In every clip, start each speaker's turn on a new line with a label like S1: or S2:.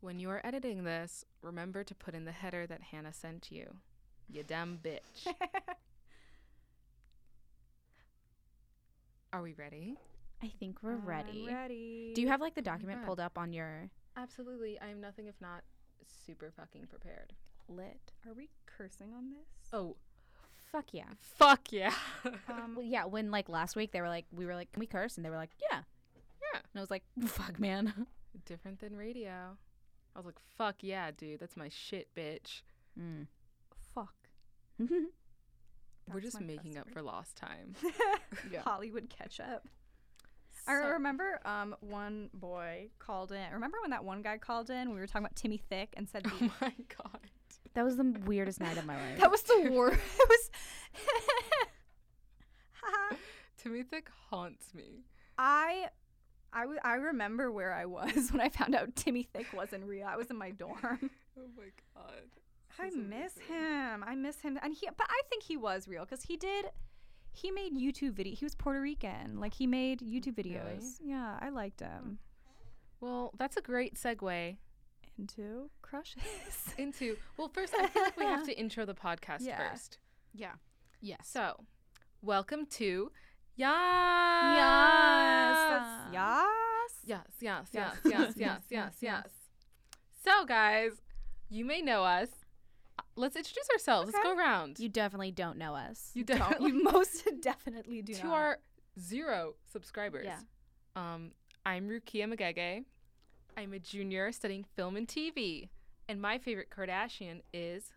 S1: When you are editing this, remember to put in the header that Hannah sent you. You dumb bitch. are we ready?
S2: I think we're
S3: I'm
S2: ready. Uh-huh.
S3: ready.
S2: Do you have like the document
S1: God.
S2: pulled up on your
S1: Absolutely. I am nothing if not super fucking prepared.
S2: lit?
S3: Are we cursing on this?
S1: Oh,
S2: Fuck yeah.
S1: fuck yeah.
S3: Um,
S2: Well, yeah, when like last week they were like, we were like, can we curse? And they were like, yeah.
S1: Yeah.
S2: And I was like, fuck, man.
S1: Different than radio. I was like, fuck yeah, dude. That's my shit, bitch.
S2: Mm.
S3: fuck.
S1: We're
S3: That's
S1: just
S3: my
S1: making up
S3: cuss
S1: for lost time.
S3: word.
S1: Yeah.
S3: Hollywood catch up. I
S1: So-
S3: remember um, one boy called in. Remember when that one guy called in? We were talking about Timmy Thick and said the
S1: Oh my god.
S2: that was the weirdest night of my life.
S3: That was the worst. It was. Haha.
S1: Timmy Thick haunts me.
S3: I, I, w- I remember where I was when I found out Timmy Thick wasn't real. I was in my dorm.
S1: Oh my god.
S3: I
S1: This is
S3: miss
S1: amazing.
S3: him. I miss him. And he, but I think he was real because he did. He made YouTube video. He was Puerto Rican. Like he made YouTube
S1: Really?
S3: videos. Yeah, I liked him.
S1: Well, that's a great segue
S3: Into crushes.
S1: into. Well, first, I feel like we have to intro the podcast
S3: Yeah.
S1: first.
S2: yeah. Yes.
S1: So, welcome to Yas.
S2: Yas.
S3: yes.
S1: Yes, yes, yes,
S3: Yes,
S1: yes, yes,
S3: yes,
S1: yes,
S3: yes,
S1: yes. So, guys, you may know us. Uh, Let's introduce ourselves. Let's go around.
S2: You definitely don't know us.
S1: You
S3: Don't-
S1: definitely
S3: you most definitely do
S1: to
S3: not.
S1: our zero subscribers.
S2: Yeah.
S1: Um, I'm Rukia Magege. I'm a junior studying film and TV, and my favorite Kardashian is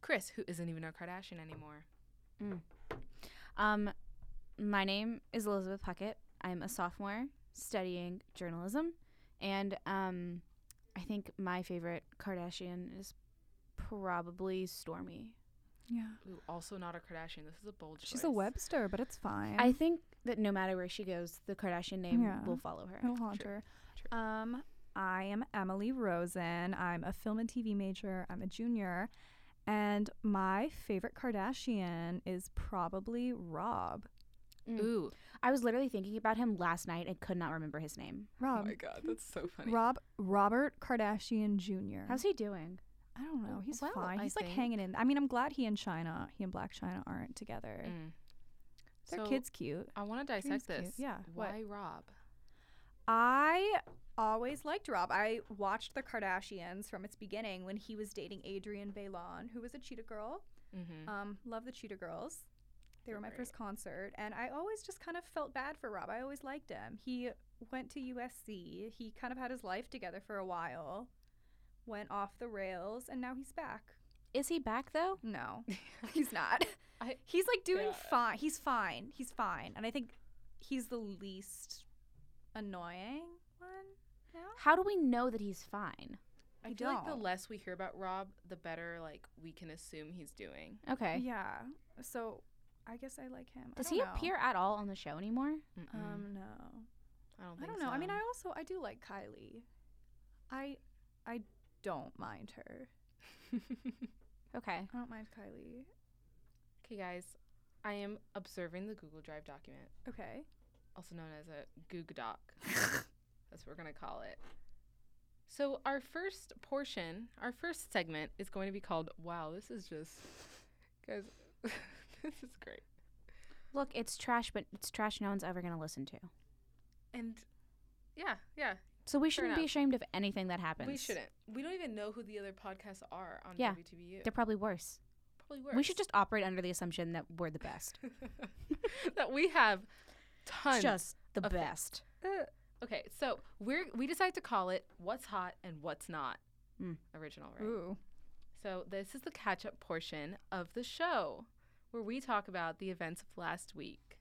S1: Chris, who isn't even a Kardashian anymore.
S2: Mm. Um, my name is Elizabeth Puckett. I'm a sophomore studying journalism, and um, I think my favorite Kardashian is probably Stormy.
S3: yeah.
S1: Ooh, also not a Kardashian. This is a bold choice.
S3: She's a Webster, but it's fine.
S2: I think that no matter where she goes, the Kardashian name
S3: Yeah. Oh.
S2: will follow her.
S3: No haunt
S1: True.
S3: her.
S1: True.
S3: Um, I am Emily Rosen. I'm a film and TV major. I'm a junior. And my favorite Kardashian is probably Rob.
S2: Mm.
S1: Ooh,
S2: I was literally thinking about him last night and could not remember his name.
S1: oh
S3: Rob.
S1: my God, that's so funny.
S3: Um, Rob Robert Kardashian Jr.
S2: How's he doing?
S3: I don't know. He's
S1: Well,
S3: fine.
S1: I
S3: He's like
S1: think-
S3: hanging in. I mean, I'm glad he and China, he and Black China aren't together.
S1: Mm.
S3: Their
S1: So,
S3: kid's cute.
S1: I want to
S3: Dream's
S1: dissect
S3: cute.
S1: this.
S3: Yeah, what?
S1: Why Rob?
S3: I always liked Rob. I watched The Kardashians from its beginning when he was dating Adrienne Bailon, who was a cheetah girl.
S1: Mm-hmm.
S3: Um, love the Cheetah Girls. They were my
S1: Right.
S3: first concert, and I always just kind of felt bad for Rob. I always liked him. He went to USC. He kind of had his life together for a while, went off the rails, and now he's back.
S2: Is he back though?
S3: No, he's not.
S1: I-
S3: he's like doing
S1: Yeah.
S3: fine. He's fine. He's fine, and I think he's the least annoying one now.
S2: How do we know that he's fine?
S1: I
S3: I
S1: feel like the
S3: don't.
S1: less we hear about Rob, the better. Like we can assume he's doing.
S2: Okay.
S3: Yeah. So I guess I like him. I
S2: Does
S3: don't
S2: he
S3: know.
S2: appear at all on the show anymore?
S1: Mm-mm.
S3: Um, no.
S1: I don't
S3: I
S1: think
S3: don't know. I mean,
S1: so.
S3: I also I do like Kylie. I I don't mind her.
S2: Okay.
S3: I don't mind Kylie.
S1: Okay, guys, I am observing the Google Drive document,
S3: Okay.
S1: also known as a Goog Doc. That's what we're going to call it. So, our first portion, our first segment is going to be called Wow, this is just, guys, this is great.
S2: Look, it's trash, but it's trash no one's ever going to listen to.
S1: And yeah, yeah,
S2: So we shouldn't be
S1: enough.
S2: ashamed of anything that happens.
S1: we shouldn't. We don't even know who the other podcasts are on
S2: Yeah.
S1: WTBU.
S2: They're probably worse.
S1: Probably worse.
S2: We should just operate under the assumption that we're the best.
S1: that we have tons.
S2: just the
S1: of things.
S2: best.
S1: Okay, so we're we decide to call it "What's Hot and What's Not"
S2: Mm.
S1: original, right?
S3: Ooh.
S1: So this is the catch-up portion of the show where we talk about the events of last week.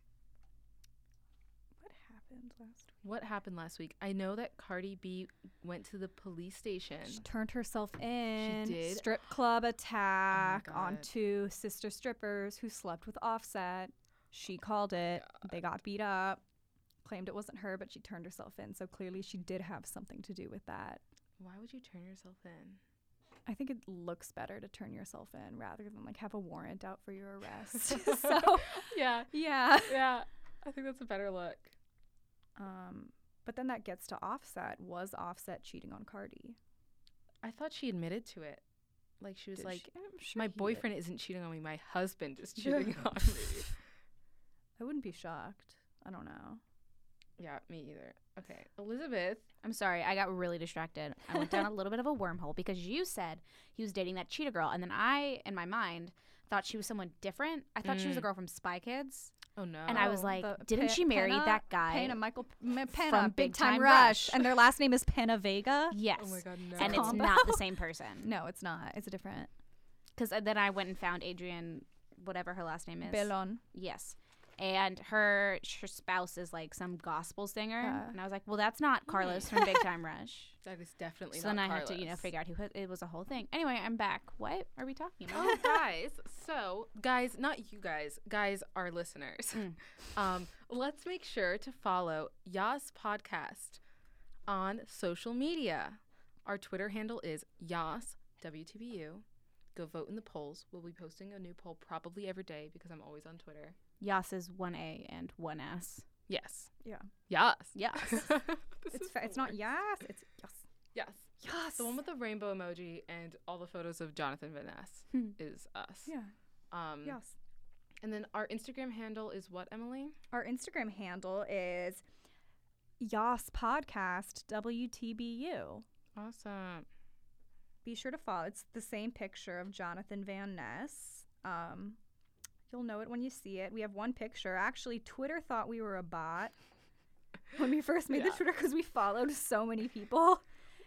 S3: What happened last
S1: What happened last week? I know that Cardi B went to the police station.
S3: week? She turned herself in.
S1: did? Oh
S3: Strip club attack on
S1: God.
S3: two sister strippers who slept with Offset. She called it. They got beat up. Claimed it wasn't her, but she turned herself in. So clearly, she did have something to do with that.
S1: Why would you turn yourself in?
S3: I think it looks better to turn yourself in rather than like have a warrant out for your arrest. so
S1: Yeah,
S3: yeah.
S1: yeah. I think that's a better look.
S3: Um, but then that gets to Offset. Was Offset cheating on Cardi?
S1: I thought she admitted to it. Like she was
S2: Did
S1: like,
S2: she- I'm sure
S1: my
S2: he did.
S1: boyfriend isn't cheating on me. My husband is
S3: Yeah.
S1: cheating on me.
S3: I wouldn't be shocked. I don't know.
S1: Yeah, me either. Okay, Elizabeth.
S2: I'm sorry, I got really distracted. I went down a little bit of a wormhole because you said he was dating that cheetah girl, and then I, in my mind, thought she was someone different. I thought she was a
S1: Mm.
S2: girl from Spy Kids,
S1: Oh no.
S2: and I was
S3: Oh,
S2: like,
S3: the
S2: "Didn't
S3: Pe-
S2: she marry
S3: Penna-
S2: that guy?"
S3: Penna Michael M- Penna,
S2: From
S3: Big,
S2: Big
S3: Time,
S2: Time
S3: Rush.
S2: Rush.
S3: and their last name is Penna Vega.
S2: Yes,
S1: Oh my god, no.
S2: and it's
S3: Combo.
S2: not the same person.
S3: No, it's not. It's a different
S2: Because then I went and found Adrian, whatever her last name is.
S3: Belon.
S2: Yes. And her her spouse is like some gospel singer,
S3: Yeah.
S2: and I was like, "Well, that's not Carlos from Big Time Rush."
S1: that is definitely
S2: So
S1: not
S2: then I
S1: Carlos.
S2: had to, you know, figure out who hit- it was. A whole thing. Anyway, I'm back. What are we talking about?
S1: oh guys, so guys, not you guys, guys, our listeners.
S2: Mm.
S1: Um, let's make sure to follow Yas Podcast on social media. Our Twitter handle is Yas WTBU. Go vote in the polls. We'll be posting a new poll probably every day because I'm always on Twitter.
S2: Yas is one A and one S.
S1: Yes.
S3: Yeah.
S1: Yes.
S2: Yes.
S3: It's fa- it's not yes. It's yes.
S1: Yes.
S3: Yes.
S1: The one with the rainbow emoji and all the photos of Jonathan Van Ness
S2: Hmm.
S1: is us.
S3: yeah.
S1: Um,
S3: Yes.
S1: And then our Instagram handle is what, Emily?
S3: Our Instagram handle is Yas Podcast WTBU.
S1: Awesome.
S3: Be sure to follow. It's the same picture of Jonathan Van Ness. Um, you'll know it when you see it. We have one picture. Actually, Twitter thought we were a bot when we first made the
S1: Yeah.
S3: Twitter because we followed so many people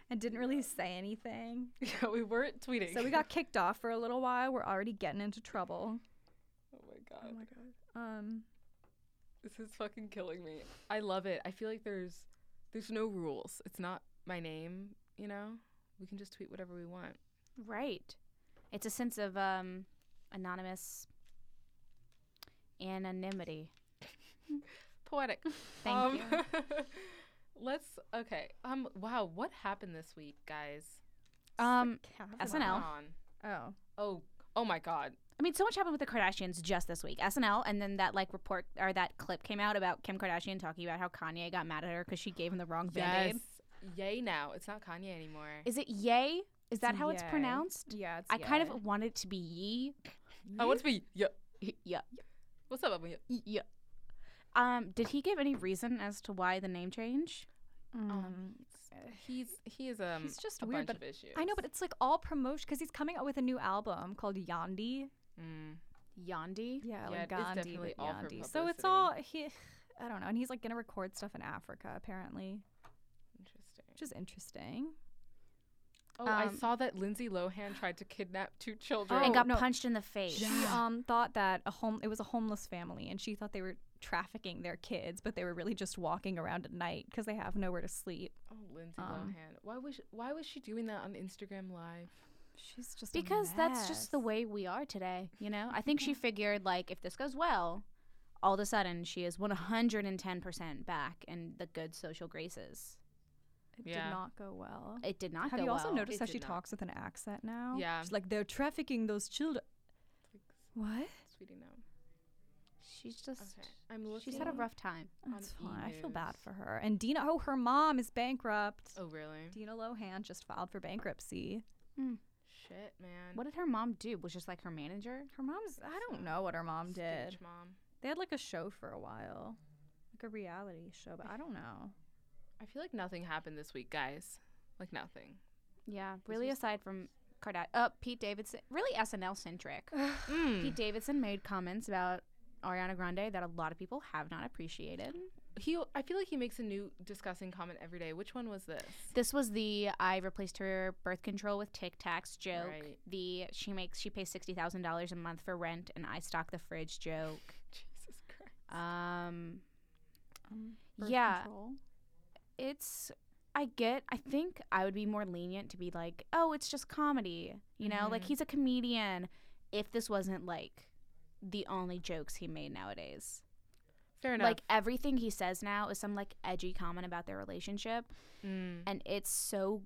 S3: and didn't really say anything.
S1: Yeah, we weren't tweeting.
S3: So we got kicked off for a little while. We're already getting into trouble.
S1: oh my god.
S3: god. Um,
S1: This is fucking killing me. I love it. I feel like there's there's no rules. It's not my name, you know? We can just tweet whatever we want.
S2: Right. It's a sense of um, anonymous anonymity.
S1: Poetic. Um,
S2: Thank you.
S1: let's okay. Um wow, what happened this week, guys?
S2: Um,
S3: Kavanaugh.
S2: SNL.
S1: On.
S3: Oh,
S1: Oh, oh my god.
S2: I mean, so much happened with the Kardashians just this week. SNL, and then that like report or that clip came out about Kim Kardashian talking about how Kanye got mad at her because she gave him the wrong band aid.
S1: Yay now. It's not Kanye anymore.
S2: Is it Yay? Is that how it's
S3: Yay.
S2: pronounced?
S3: yeah. It's
S2: I kind
S3: yeah.
S2: of want it to be Yee.
S1: I want to be yeah.
S2: Yeah.
S1: What's up, Emily?
S2: Yeah. Um, did he give any reason as to why the name change?
S1: Um, he's he is um
S3: He's just
S1: a
S3: weird,
S1: bunch
S3: but
S1: of issues.
S3: I know, but it's like all promotion because he's coming out with a new album called Yandi.
S1: Mm.
S2: Yandi.
S3: Yeah,
S1: Yeah,
S3: like
S1: it is
S3: Gandhi,
S1: definitely
S3: but
S1: all for
S3: Yandi. So it's
S1: publicity.
S3: all he. I don't know, and he's like gonna record stuff in Africa apparently,
S1: Interesting.
S3: which is interesting.
S1: Oh, I
S2: Um,
S1: saw that Lindsay Lohan tried to kidnap two children.
S2: And
S3: Oh,
S2: got
S3: no.
S2: punched in the face.
S3: She
S1: Yeah.
S3: um thought that a home it was a homeless family, and she thought they were trafficking their kids, but they were really just walking around at night because they have nowhere to sleep.
S1: Oh, Lindsay
S3: Um,
S1: Lohan. Why was why was she doing that on Instagram Live?
S3: She's just a
S2: Because that's just the
S3: mess.
S2: way we are today, you know? I think she figured, like, if this goes well, all of a sudden she is 110% back in the good social graces.
S3: It
S1: Yeah.
S3: did not go well.
S2: It did not
S3: Have
S2: go
S3: you also
S2: well.
S3: noticed
S1: It
S3: how
S1: did
S3: she
S1: not.
S3: talks with an accent now?
S1: Yeah.
S3: She's like, they're trafficking those children.
S1: Like,
S3: What?
S1: sweetie, no.
S2: She's just,
S1: Okay, I'm looking.
S2: she's had a rough time.
S1: On E
S3: That's fine. I feel bad
S1: e-news.
S3: for her. And Dina, oh, her mom is bankrupt.
S1: Oh really?
S3: Dina Lohan just filed for bankruptcy.
S1: Shit, man.
S2: What did her mom do? Was just like her manager?
S3: Her mom's, I don't know what her mom did.
S1: Stooge mom?
S3: They had like a show for a while, like a reality show, but I don't know.
S1: I feel like nothing happened this week, guys. Like nothing.
S2: Yeah, really aside from Kardashian. Uh, Pete Davidson, really SNL centric. Pete
S1: Mm.
S2: Davidson made comments about Ariana Grande that a lot of people have not appreciated.
S1: He, I feel like he makes a new disgusting comment every day. Which one was this?
S2: This was the I replaced her birth control with Tic Tacs joke.
S1: Right.
S2: The she makes she pays sixty thousand dollars a month for rent and I stock the fridge joke.
S1: Jesus Christ.
S2: Um,
S3: Um,
S2: Yeah.
S3: Control.
S2: it's I get I think I would be more lenient to be like, oh, it's just comedy, you know, like
S1: Mhm.
S2: he's a comedian. If this wasn't like the only jokes he made nowadays.
S1: Fair enough.
S3: e-
S2: like everything he says now is some like edgy comment about their relationship
S1: Mm.
S2: and it's so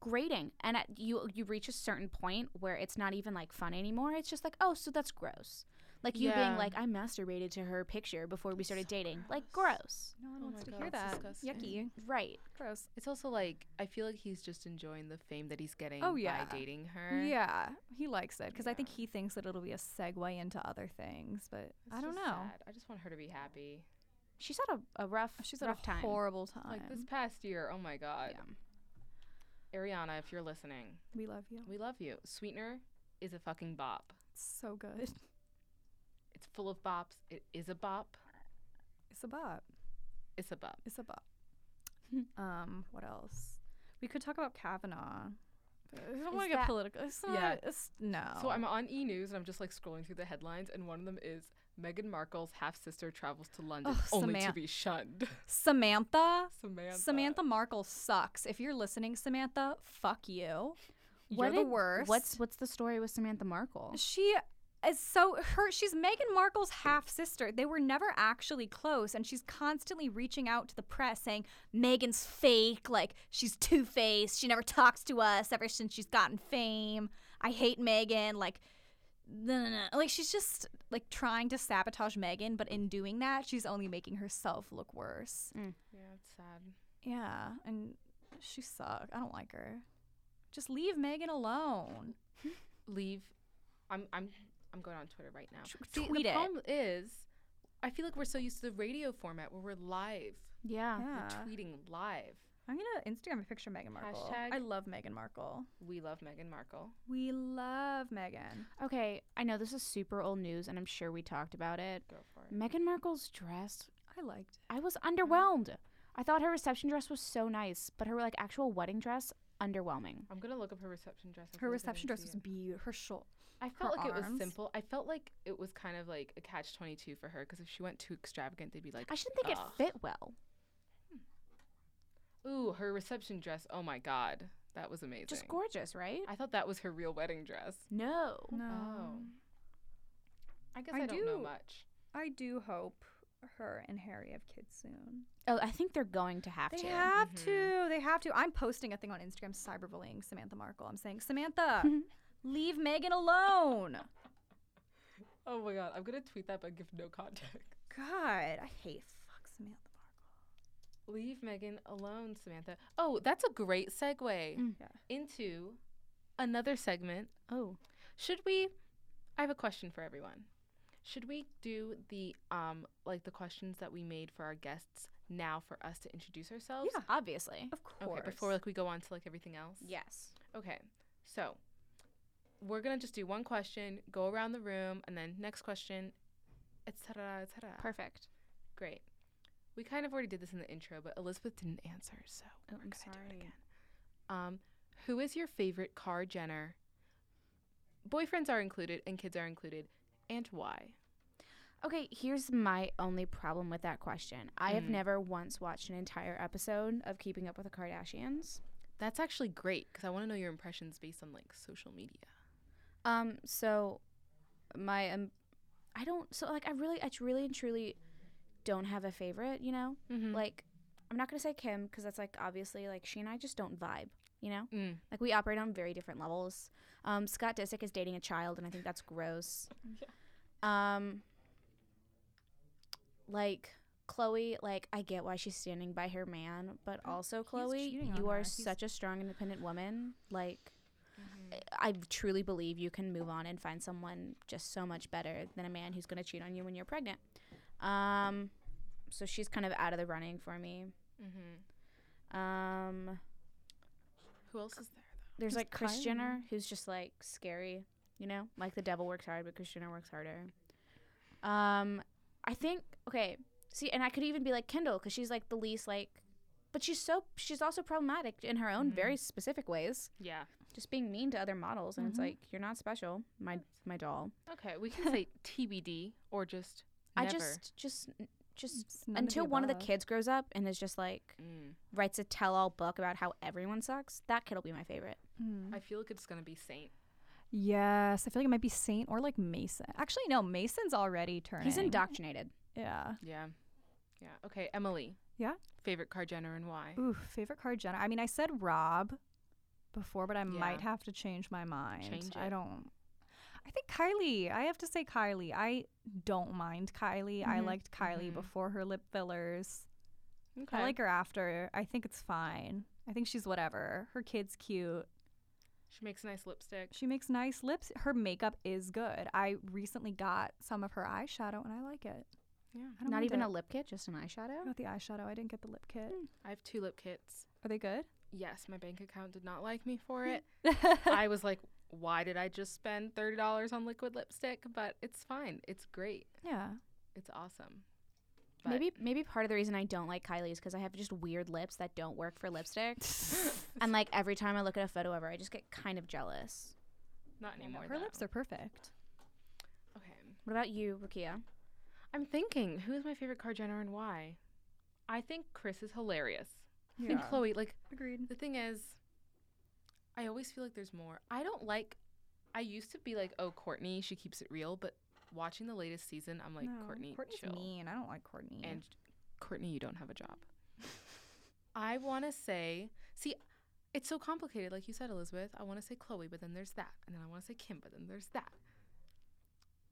S2: grating and uh, at, you you reach a certain point where it's not even like fun anymore it's just like oh so that's gross Like you
S1: Yeah.
S2: being like, I masturbated to her picture before we started
S1: So
S2: dating. Like
S1: gross.
S2: gross.
S3: No one
S1: Oh
S3: wants
S1: my
S3: to
S1: God,
S3: hear
S1: that's
S3: that.
S1: disgusting.
S3: Yucky.
S2: Right.
S3: Gross.
S1: It's also like I feel like he's just enjoying the fame that he's getting
S3: Oh, yeah.
S1: by dating her.
S3: Yeah, he likes it because I
S1: Yeah.
S3: think he thinks that it'll be a segue into other things, but
S1: It's
S3: I don't know.
S1: just sad. I just want her to be happy.
S2: She's had a, a rough
S3: She's had
S2: rough
S3: a
S2: time.
S3: horrible time.
S1: Like this past year, oh my god.
S2: Yeah.
S1: Ariana, if you're listening,
S3: we love you.
S1: we love you. Sweetener is a fucking bop.
S3: It's so good.
S1: It's full of bops. It is a bop.
S3: It's a bop.
S1: It's a bop.
S3: It's a bop. um, what else? We could talk about Kavanaugh. but I don't
S2: Is
S3: want to get
S2: that-
S3: political. It's not,
S1: Yeah.
S3: It's, no.
S1: So I'm on E News and I'm just like scrolling through the headlines, and one of them is Meghan Markle's half sister travels to London
S3: Ugh,
S1: only to
S3: Saman-
S1: be shunned.
S3: Samantha.
S1: Samantha.
S3: Samantha Markle sucks. If you're listening, Samantha, fuck you. You're the
S2: did-
S3: worst.
S2: What's what's the story with Samantha Markle?
S3: She is so her she's Meghan Markle's half sister. They were never actually close and she's constantly reaching out to the press saying Meghan's fake, like she's two-faced. She never talks to us ever since she's gotten fame. I hate Meghan, like no, no, no. Like she's just like trying to sabotage Meghan, but in doing that, she's only making herself look worse.
S1: Yeah, it's sad.
S3: Yeah, and she sucks. I don't like her. Just leave Meghan alone.
S1: Leave. I'm I'm I'm going on Twitter right now.
S3: Tw-
S1: See,
S3: tweet
S1: the
S3: it.
S1: problem is, I feel like we're so used to the radio format where we're live,
S2: Yeah.
S1: we're
S3: Yeah.
S1: tweeting live.
S3: I'm gonna Instagram a picture of Meghan Markle.
S1: Hashtag-
S3: I love Meghan Markle.
S1: We love Meghan Markle.
S3: We love Meghan.
S2: Okay, I know this is super old news and I'm sure we talked about it.
S1: Go for it.
S2: Meghan Markle's dress,
S3: I liked.
S2: I was
S1: Mm-hmm.
S2: underwhelmed. I thought her reception dress was so nice, but her like actual wedding dress underwhelming.
S1: I'm gonna look up her reception dress. I
S3: Her
S1: feel like I didn't
S3: reception dress
S1: see
S3: was
S1: it.
S3: beautiful. Her short.
S1: I felt
S3: her
S1: like it was
S3: arms.
S1: simple. I felt like it was kind of like a catch twenty two for her because if she went too extravagant, they'd be like,
S2: I shouldn't think
S1: Ugh.
S2: it fit well.
S1: "Ooh, her reception dress! Oh my god, that was amazing."
S2: Just gorgeous, right?
S1: I thought that was her real wedding dress.
S2: No.
S3: No.
S1: Oh. I guess I,
S3: I
S1: don't know
S3: do-
S1: much.
S3: I do hope her and Harry have kids soon.
S2: Oh, I think they're going to have
S3: They
S2: to.
S3: have
S1: Mhm.
S3: to. Mm-hmm. They have to. I'm posting a thing on Instagram cyberbullying Samantha Markle. I'm saying Samantha, leave Meghan alone.
S1: Oh my god, I'm gonna tweet that but give no context.
S3: God, I hate fuck Samantha Markle.
S1: Leave Megan alone, Samantha. Oh, that's a great segue
S2: Mm.
S3: Yeah.
S1: into another segment.
S2: oh.
S1: Should we? I have a question for everyone. Should we do the um like the questions that we made for our guests now for us to introduce ourselves?
S3: Yeah,
S2: Obviously.
S3: Of course.
S1: Okay, before like we go on to like everything else.
S2: Yes.
S1: Okay, so we're gonna just do one question, go around the room, and then next question, etc. etc.
S2: Perfect.
S1: Great. We kind of already did this in the intro, but Elizabeth didn't answer, so
S2: Oh,
S1: we're
S2: I'm
S1: gonna do
S2: sorry.
S1: it again. Um, who is your favorite car Jenner? Boyfriends are included and kids are included, and why?
S2: Okay, here's my only problem with that question. I have
S1: Mm.
S2: never once watched an entire episode of Keeping Up with the Kardashians.
S1: That's actually great because I want to know your impressions based on like social media.
S2: Um, so my um, I don't so like I really I really and truly don't have a favorite. You know,
S1: Mm-hmm.
S2: like I'm not gonna say Kim because that's like obviously like she and I just don't vibe. You know,
S1: mm.
S2: like we operate on very different levels. Um, Scott Disick is dating a child, and I think that's gross. Um, like Chloe, like I get why she's standing by her man, but also Chloe,
S3: Mm, cheating on
S2: you are
S3: her. He's-
S2: such a strong, independent woman. Like,
S1: mm-hmm.
S2: I I truly believe you can move on and find someone just so much better than a man who's going to cheat on you when you're pregnant. Um, so she's kind of out of the running for me.
S1: hmm
S2: Um,
S1: Who else is there?
S2: there's
S3: Who's
S2: like Chris
S3: Kylie?
S2: Jenner, who's just like scary, you know, like the devil works hard, but Chris Jenner works harder. Um, I think okay, see, and I could even be like Kendall because she's like the least like, but she's so she's also problematic in her own
S1: Mhm.
S2: very specific ways,
S1: Yeah.
S2: just being mean to other models, and it's
S3: Mhm.
S2: like you're not special, my my doll.
S1: Okay, we can say TBD or just
S2: I
S1: never.
S2: just just just
S3: It's none
S2: until one of the
S3: above.
S2: kids grows up and is just like
S1: Mm.
S2: writes a tell-all book about how everyone sucks. That kid'll be my favorite.
S3: Hmm.
S1: I feel like it's gonna be Saint.
S3: Yes, I feel like it might be Saint or like Mason. Actually, no, Mason's already turning.
S2: He's indoctrinated.
S3: Yeah.
S1: Yeah. Yeah. Okay, Emily.
S3: Yeah? Mm,
S1: Favorite car Jenner and why?
S3: Ooh, favorite card Jenna. I mean, I said Rob before, but I
S1: Yeah.
S3: might have to change my mind.
S1: Change
S3: I
S1: it.
S3: don't. I think Kylie. I have to say Kylie. I don't mind Kylie. I
S2: Mhm.
S3: liked Kylie
S1: Mhm.
S3: before her lip fillers.
S1: Okay.
S3: I like her after. I think it's fine. I think she's whatever. Her kid's cute.
S1: she makes nice lipstick.
S3: She makes nice lips. Her makeup is good. I recently got some of her eyeshadow and I like it.
S1: Yeah.
S3: I don't
S2: Not
S3: mind
S2: even
S3: it.
S2: a lip kit, just an eyeshadow.
S3: I got the eyeshadow. I didn't get the lip kit.
S1: I have two lip kits.
S3: Are they good?
S1: Yes, my bank account did not like me for it. I was like, why did I just spend $30 on liquid lipstick? But it's fine. It's great.
S3: yeah.
S1: It's awesome.
S2: Maybe maybe part of the reason I don't like Kylie is because I have just weird lips that don't work for lipstick. and like every time I look at a photo of her, I just get kind of jealous.
S1: Not
S3: Yeah, no,
S1: anymore.
S3: her lips are perfect.
S1: Okay.
S2: What about you, Rukia?
S1: I'm thinking, who is my favorite card Jenner and why? I think Chris is hilarious. And Chloe, like,
S3: Agreed.
S1: the thing is, I always feel like there's more. I don't like, I used to be like, oh, Courtney, she keeps it real. But watching the latest season, I'm like,
S3: No,
S1: Courtney,
S3: Courtney's
S1: chill.
S3: mean. I don't like Courtney.
S1: and Courtney, you don't have a job. I want to say, see, it's so complicated. Like you said, Elizabeth, I want to say Chloe, but then there's that, and then I want to say Kim, but then there's that.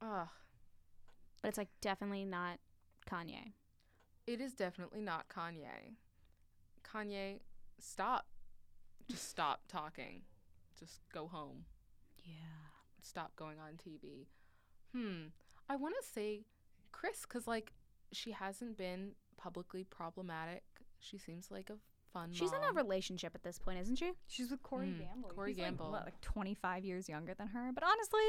S1: Ugh,
S2: But it's like definitely not Kanye.
S1: it is definitely not Kanye. Kanye, stop. Just stop talking. Just go home.
S2: Yeah.
S1: Stop going on TV. Hmm. I want to say Chris, because like she hasn't been publicly problematic. She seems like a fun.
S2: She's in
S1: mom.
S2: a relationship at this point, isn't she?
S3: she's with Corey
S1: Mm,
S3: Gamble.
S1: Corey
S3: He's like,
S1: Gamble.
S3: what, like 25 years younger than her. But honestly,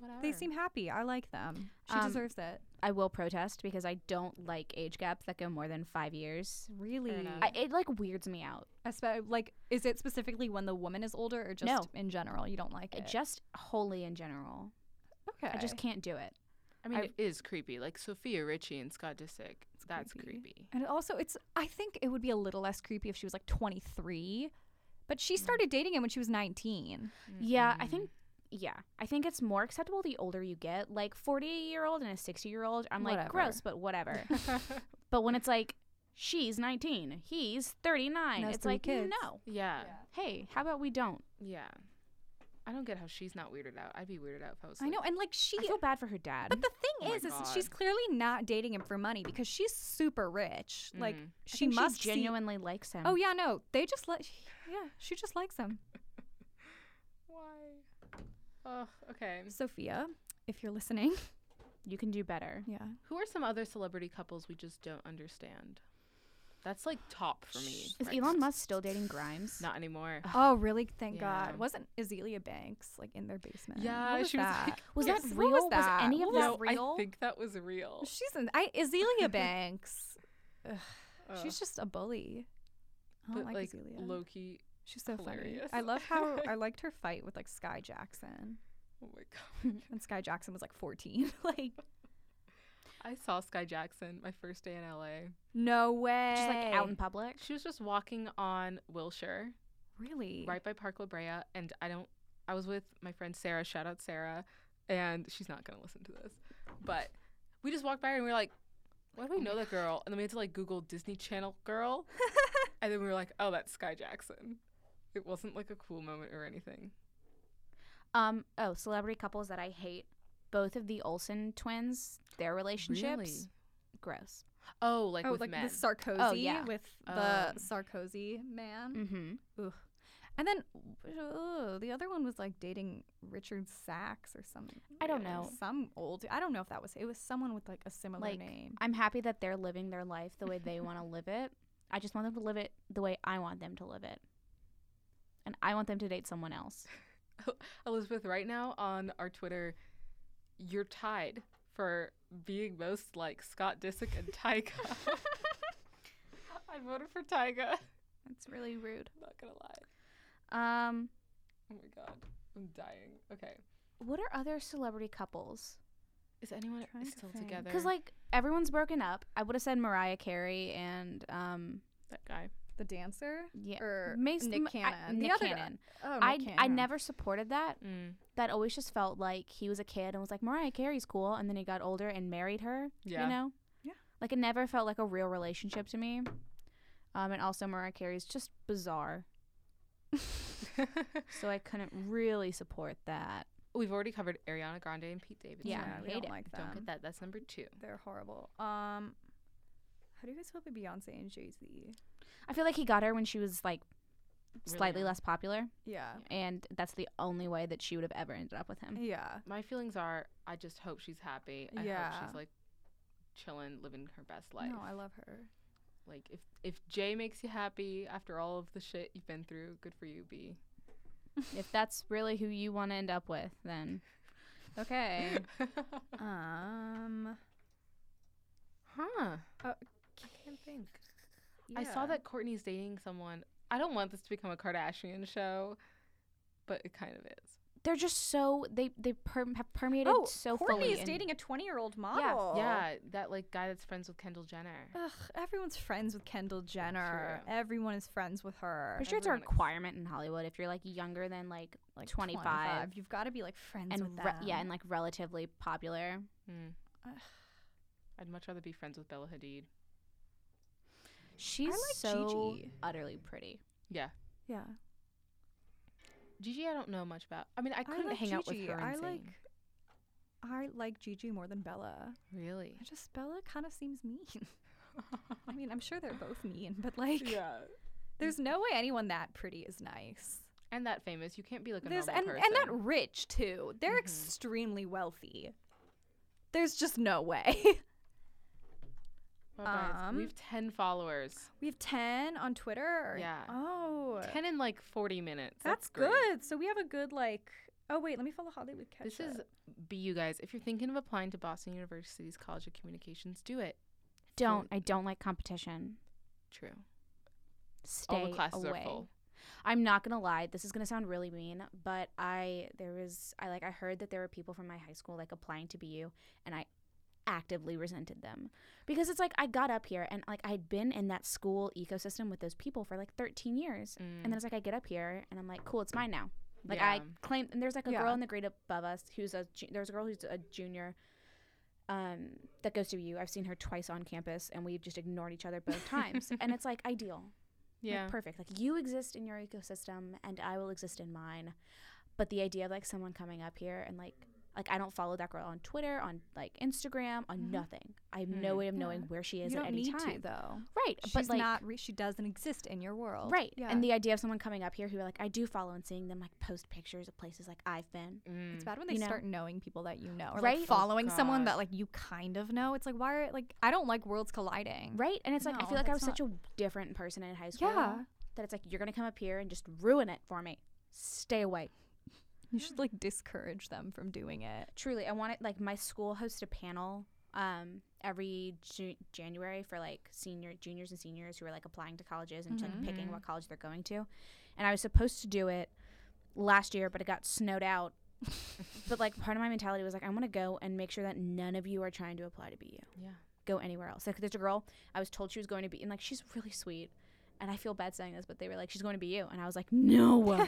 S3: they
S1: Whatever.
S3: seem happy. I like them. She
S2: Um,
S3: deserves it.
S2: I will protest because I don't like age gaps that go more than five years.
S3: Really.
S1: enough.
S2: I, it like weirds me out.
S3: Espe- like, is it specifically when the woman is older or just
S2: No.
S3: in general? You don't like
S2: Uh,
S3: it?
S2: Just wholly in general.
S3: okay.
S2: I just can't do it.
S1: I mean,
S2: I-
S1: it is creepy. Like Sophia Richie and Scott Disick. That's creepy.
S3: creepy. And it also, it's. I think it would be a little less creepy if she was like 23, but she started dating him when she was 19.
S2: Yeah, I
S1: Mm-mm.
S2: think. Yeah, I think it's more acceptable the older you get. Like forty year old and a sixty year old, I'm like
S3: Whatever.
S2: gross, but whatever. but when it's like she's nineteen, he's thirty nine,
S3: Has
S2: it's
S3: three
S2: like
S3: kids.
S2: no.
S1: yeah,
S2: Hey, how about we don't?
S1: yeah. I don't get how she's not weirded out. I'd be weirded out if I was.
S3: I
S1: like-
S3: know, and like she.
S2: I feel bad for her dad.
S3: But the
S1: Oh
S3: thing
S1: my
S3: is, is she's
S1: God.
S3: clearly not dating him for money because she's super rich. Like
S1: Mhm.
S2: I
S3: she
S2: think
S3: must see-
S2: genuinely likes him.
S3: Oh yeah, no, they just let. Yeah, she just likes him.
S1: Why? Oh, okay.
S3: Sophia, if you're listening,
S2: you can do better.
S3: yeah,
S1: Who are some other celebrity couples we just don't understand? That's like top for me.
S2: Is
S1: right
S2: Elon
S1: now.
S2: Musk still dating Grimes?
S1: Not anymore.
S3: Oh, really? Thank
S1: Yeah.
S3: God. Wasn't Azealia Banks like in their basement?
S1: Yeah,
S3: What was
S1: she was,
S3: that?
S1: like-
S2: Was
S3: Yes,
S2: that
S3: what
S2: real?
S3: was
S2: Was,
S3: that?
S2: any of
S3: What
S2: that
S1: no,
S2: real?
S1: I think that was real.
S3: She's in. I Azealia Banks.
S1: Ugh.
S3: She's just a bully. I don't
S1: but
S3: like,
S1: like
S3: Azealia.
S1: Loki.
S3: She's so
S1: hilarious.
S3: funny. I love how I liked her fight with like Sky Jackson,
S1: Oh my god.
S3: and Sky Jackson was like 14. like
S1: I saw Sky Jackson my first day in LA.
S3: no way.
S2: Just like out in public.
S1: She was just walking on Wilshire.
S3: Really?
S1: right by Park La Brea, and I don't. I was with my friend Sarah. Shout out Sarah, and she's not gonna listen to this, but we just walked by her and we were like, "Why do we know that girl?" And then we had to like Google Disney Channel girl, and then we were like, "Oh, that's Sky Jackson." It wasn't like a cool moment or anything.
S2: Um. Oh, celebrity couples that I hate. Both of the Olsen twins, their relationships, gross.
S1: Oh, like
S3: oh,
S1: with
S3: like
S1: men.
S3: the Sarkozy
S2: Oh, yeah.
S3: with
S1: Um,
S3: the Sarkozy man.
S2: Mm-hmm.
S3: Ugh. And then ugh, the other one was like dating Richard Sachs or something.
S2: I don't know.
S3: Some old. I don't know if that was. It was someone with like a similar
S2: Like,
S3: name.
S2: I'm happy that they're living their life the way they want to live it. I just want them to live it the way I want them to live it. And I want them to date someone else.
S1: Elizabeth, right now on our Twitter, you're tied for being most like Scott Disick and Tyga. I voted for Tyga.
S2: That's really rude.
S1: Not gonna lie.
S2: Um,
S1: Oh my god, I'm dying. Okay.
S2: what are other celebrity couples?
S1: Is anyone
S3: trying to
S1: still
S3: think.
S1: together?
S2: Because like everyone's broken up. I would have said Mariah Carey and um,
S1: that guy.
S3: the dancer.
S2: yeah,
S3: Or
S2: Mace-
S3: Nick
S2: Ma- I-
S3: Cannon. The
S2: Nick
S3: other guy.
S2: Cannon.
S3: Oh, Nick
S2: I I
S3: Cannon.
S2: never supported that.
S1: Mm.
S2: That always just felt like he was a kid and was like Mariah Carey's cool, and then he got older and married her.
S1: Yeah.
S2: you know
S3: Yeah.
S2: like it never felt like a real relationship to me um and also mariah carey's just bizarre so i couldn't really support that
S1: We've already covered Ariana Grande and Pete Davidson.
S2: Yeah,
S3: we
S2: hate
S3: don't
S2: it.
S3: like them.
S1: Don't get that. That's number two.
S3: They're horrible. Um, how do you guys feel about Beyonce and Jay Z?
S2: I feel like he got her when she was like
S1: Really
S2: slightly
S1: young.
S2: less popular,
S3: Yeah,
S2: and that's the only way that she would have ever ended up with him.
S3: yeah,
S1: My feelings are I just hope she's happy. I hope
S3: Yeah.
S1: she's like chilling, living her best life.
S3: No, I love her.
S1: like if if Jay makes you happy after all of the shit you've been through, good for you, B.
S2: if that's really who you want to end up with, then okay.
S3: Um,
S1: huh. I can't think. I saw
S3: yeah.
S1: that Courtney's dating someone. I don't want this to become a Kardashian show, but it kind of is.
S2: They're just so they they per- have permeated
S3: Oh,
S2: so
S3: Courtney
S2: fully.
S3: is
S2: in-
S3: dating a twenty-year-old model.
S1: Yeah, that like guy that's friends with Kendall Jenner.
S3: Ugh, everyone's friends with Kendall Jenner.
S1: True.
S3: Everyone is friends with her.
S2: I'm sure it's a
S1: everyone ex-
S2: requirement in Hollywood if you're like younger than like
S3: Like
S2: 25,
S3: You've got to be like friends
S2: and
S3: with them.
S2: re- yeah, and like relatively popular.
S1: Hmm.
S3: Ugh.
S1: I'd much rather be friends with Bella Hadid.
S2: She's
S3: like
S2: so
S3: Gigi.
S2: utterly pretty.
S1: Yeah,
S3: yeah.
S1: Gigi. I don't know much about. I mean, I couldn't
S3: like
S1: hang out with
S3: Gigi.
S1: her. And
S3: I
S1: sing.
S3: like. I like Gigi more than Bella.
S1: really.
S3: I just Bella kind of seems mean. I mean, I'm sure they're both mean, but like, there's no way anyone that pretty is nice.
S1: and that famous. You can't be like a
S3: There's
S1: normal
S3: and
S1: person.
S3: and not rich too. They're
S2: Mm-hmm.
S1: Mhm.
S3: extremely wealthy. There's just no way.
S1: Oh, guys,
S3: um,
S1: we have ten followers.
S3: we have ten on Twitter.
S1: Yeah.
S3: Oh,
S1: Ten in like forty minutes.
S3: that's,
S1: great.
S3: good. So we have a good like. Oh wait, let me follow Holly with Kesha.
S1: This is be you guys. If you're thinking of applying to Boston University's College of Communications, do it.
S2: Don't I don't like competition.
S1: True.
S2: Stay
S1: All the classes
S2: away.
S1: are full.
S2: I'm not gonna lie. This is gonna sound really mean, but I there was I like I heard that there were people from my high school like applying to BU, and I actively resented them because it's like I got up here and like I'd been in that school ecosystem with those people for like 13 years, and
S1: Mm.
S3: Mm.
S2: then it's like I get up here and I'm like, cool, it's mine now. Like I
S1: Yeah.
S2: claim, and there's like a
S3: Yeah.
S2: girl in the grade above us who's a ju- there's a girl who's a junior. Um, that goes to BU. I've seen her twice on campus, and we've just ignored each other both times. and it's like ideal. Like,
S1: Yeah.
S2: perfect. Like you exist in your ecosystem and I will exist in mine. But the idea of like someone coming up here and like like I don't follow that girl on Twitter, on like Instagram, on
S3: Mhm.
S2: nothing. I have no
S1: Mhm.
S2: way of
S3: Yeah.
S2: knowing where she is
S3: you
S2: at
S3: don't
S2: any
S3: need
S2: time.
S3: to though.
S2: Right.
S3: She's
S2: but like
S3: not. Re- she doesn't exist in your world.
S2: Right.
S3: Yeah.
S2: And the idea of someone coming up here who like I do follow and seeing them like post pictures of places like I've been.
S1: Mm.
S3: It's bad when they
S2: You know?
S3: start knowing people that you know, or
S2: Right? Oh,
S3: like following someone
S1: God.
S3: that like you kind of know. It's like why are like I don't like worlds colliding.
S2: Right? And it's like I
S3: No,
S2: feel like I was
S3: that's
S2: such a different person in high school
S3: Yeah,
S2: that it's like you're gonna come up here and just ruin it for me. Stay away.
S3: you should like discourage them from doing it.
S2: truly i want it like my school hosts a panel um every Ju- january for like senior juniors and seniors who are like applying to colleges and like picking
S1: Mhm.
S2: what college they're going to and i was supposed to do it last year but it got snowed out but like part of my mentality was like i want to go and make sure that none of you are trying to apply to bu
S1: Yeah.
S2: go anywhere else like there's a girl i was told she was going to be and like she's really sweet and i feel bad saying this but they were like she's going to be you and i was like no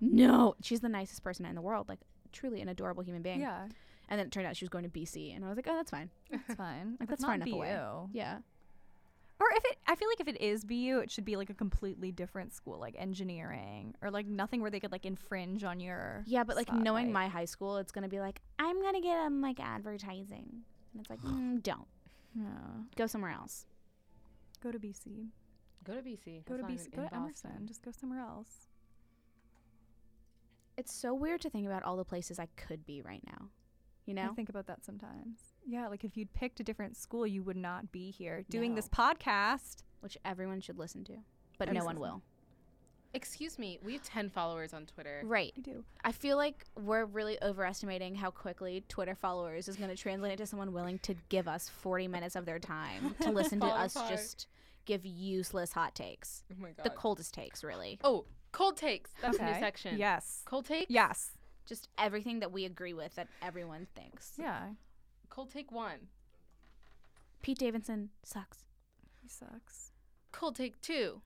S2: no she's the nicest person in the world like truly an adorable human being
S3: Yeah,
S2: and then it turned out she was going to BC, and I was like, oh, that's fine.
S3: it's fine.
S2: Like,
S3: If it's
S2: that's far
S3: not
S2: enough away.
S3: BU.
S2: Yeah.
S3: Or if it, I feel like if it is BU, it should be like a completely different school, like engineering or like nothing where they could like infringe on your.
S2: Yeah, but like knowing
S3: spotlight.
S2: my high school, it's gonna be like, I'm gonna get um like advertising, and it's like, mm, don't
S3: Yeah.
S2: go somewhere else.
S3: Go to BC.
S1: Go to BC.
S3: Go
S1: That's not
S3: to
S1: even
S3: BC. Go
S1: in
S3: to Emerson.
S1: Boston.
S3: Just go somewhere else.
S2: It's so weird to think about all the places I could be right now. You
S3: I
S2: know?
S3: think about that sometimes. Yeah, like if you'd picked a different school, you would not be here doing
S2: No.
S3: this podcast.
S2: Which everyone should listen to, but
S3: That
S2: no
S3: makes
S2: one
S3: sense.
S2: will.
S1: Excuse me. We have ten followers on Twitter.
S2: Right.
S3: You do.
S2: I feel like we're really overestimating how quickly Twitter followers is gonna translate into someone willing to give us 40 minutes of their time to listen to us
S1: Qualify.
S2: just give useless hot takes.
S1: Oh my god.
S2: The coldest takes, really.
S1: oh, cold takes. That's a new
S3: Okay.
S1: section.
S3: Yes.
S1: Cold take.
S3: Yes.
S2: just everything that we agree with that everyone thinks.
S3: Yeah.
S1: Cold take one.
S2: Pete Davidson sucks.
S3: He sucks.
S1: Cold take two.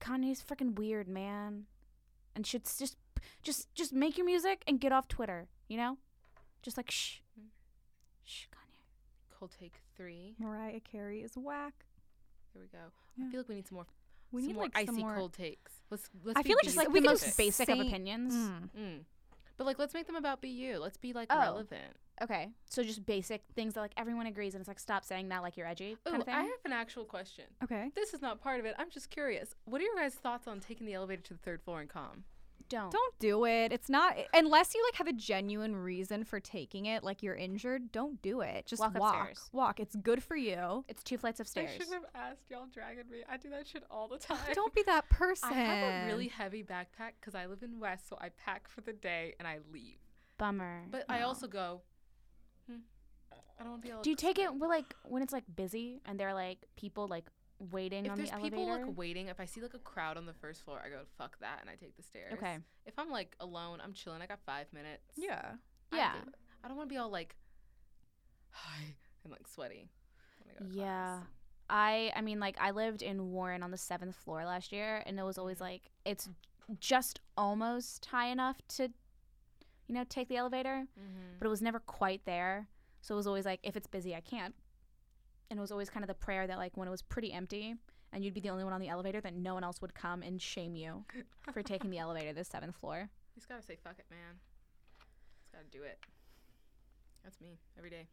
S2: Kanye's freaking weird, man. And should s- just just just make your music and get off Twitter, you know? Just like shh. Shh, Kanye.
S1: Cold take three.
S3: Mariah Carey is whack.
S1: There we go. I
S3: Yeah.
S1: feel like we need some more.
S3: We
S1: some
S3: need
S1: more
S3: like
S1: icy
S3: some more.
S1: cold takes. Let's. let's
S3: I
S1: be
S3: feel like
S1: these
S2: Just
S3: like
S2: like
S3: we
S2: the
S3: could
S2: most
S3: just
S2: basic of
S3: say-
S2: opinions.
S3: Mm.
S1: Mm. But like, let's make them about BU. Let's be like
S2: Oh.
S1: relevant.
S2: Okay. So just basic things that like everyone agrees and it's like stop saying that like you're edgy.
S1: Oh,
S2: kind of thing.
S1: I have an actual question.
S3: Okay.
S1: This is not part of it. I'm just curious. What are your guys' thoughts on taking the elevator to the third floor and calm?
S2: don't.
S3: Don't do it. It's not unless you like have a genuine reason for taking it, like you're injured, don't do it. Just
S2: Walk
S3: walk. Walk.
S2: upstairs.
S3: It's good for you.
S2: It's two flights of stairs.
S1: have asked y'all dragging me. I do that shit all the time.
S3: Don't be that person.
S1: I have a really heavy backpack because I live in West, so I pack for the day and I leave.
S2: Bummer.
S1: But I
S2: No.
S1: also go. Hmm, I don't want to be all.
S2: Do you take it
S1: excited."
S2: with, like when it's like busy and there are like people like waiting
S1: If
S2: on
S1: there's
S2: the elevator?
S1: people like waiting, if I see like a crowd on the first floor, I go fuck that and I take the stairs.
S2: okay.
S1: If I'm like alone, I'm chilling. I got five minutes.
S3: Yeah.
S1: I
S2: Yeah.
S1: do it. I don't want to be all like, hi, and like sweaty. When I go to
S2: Yeah.
S1: class.
S2: I I mean like I lived in Warren on the 7th floor last year and it was always like it's just almost high enough to you know take the elevator, but it was never quite there. So it was always like if it's busy I can't. And it was always kind of the prayer that like when it was pretty empty and you'd be the only one on the elevator that no one else would come and shame you for taking the elevator to the 7th floor.
S1: You just gotta say fuck it, man. Just gotta do it. That's me every day.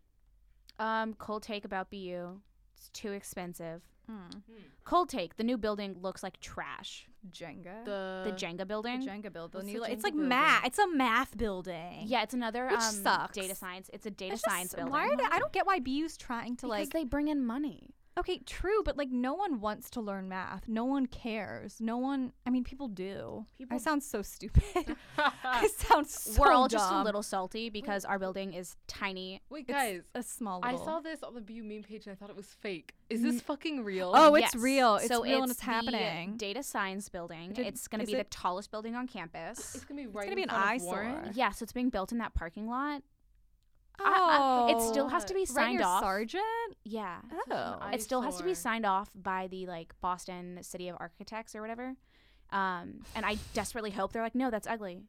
S2: Um, cold take about BU. It's too expensive.
S3: Mm.
S2: Cold take. The new building looks like trash.
S3: Jenga.
S1: The
S2: Uh, the Jenga building.
S3: Jenga building.
S1: the
S3: You like-
S1: Jenga
S3: It's like
S1: building?
S3: math. It's a math building.
S2: yeah, it's another
S3: Which
S2: um,
S3: sucks.
S2: data science. It's a data
S3: It's just-
S2: science building.
S3: Why are they, I don't get why BU's trying to
S2: because
S3: like.
S2: they bring in money.
S3: okay, true, but like no one wants to learn math. No one cares. No one. I mean, people do. I
S2: People-
S3: sound so stupid. I sound so
S2: We're all just a
S3: dumb.
S2: little salty because our building is tiny.
S1: Wait,
S3: It's
S1: guys.
S3: a small.
S1: I
S3: Little.
S1: saw this on the BU meme page and I thought it was fake. Is this fucking real?
S3: Oh, it's
S2: Yes.
S3: real. It's
S2: so
S3: real and
S2: it's
S3: it's
S2: the
S3: happening.
S2: data science building.
S3: did-
S2: it's going to
S3: is
S2: be the
S3: it-
S2: tallest building on campus.
S1: it's gonna be right.
S3: gonna be
S1: in
S3: an
S1: front of Warren.
S3: eyesore.
S2: yeah, so it's being built in that parking lot. I- I- it still has to be
S3: Oh, Right
S2: signed
S3: near
S2: off.
S3: Sergeant.
S2: Yeah.
S1: such an
S3: Oh,
S1: eye-
S2: it still has to be
S1: eyesore.
S2: signed off by the like Boston City of Architects or whatever. Um, and I desperately hope they're like, no, that's ugly.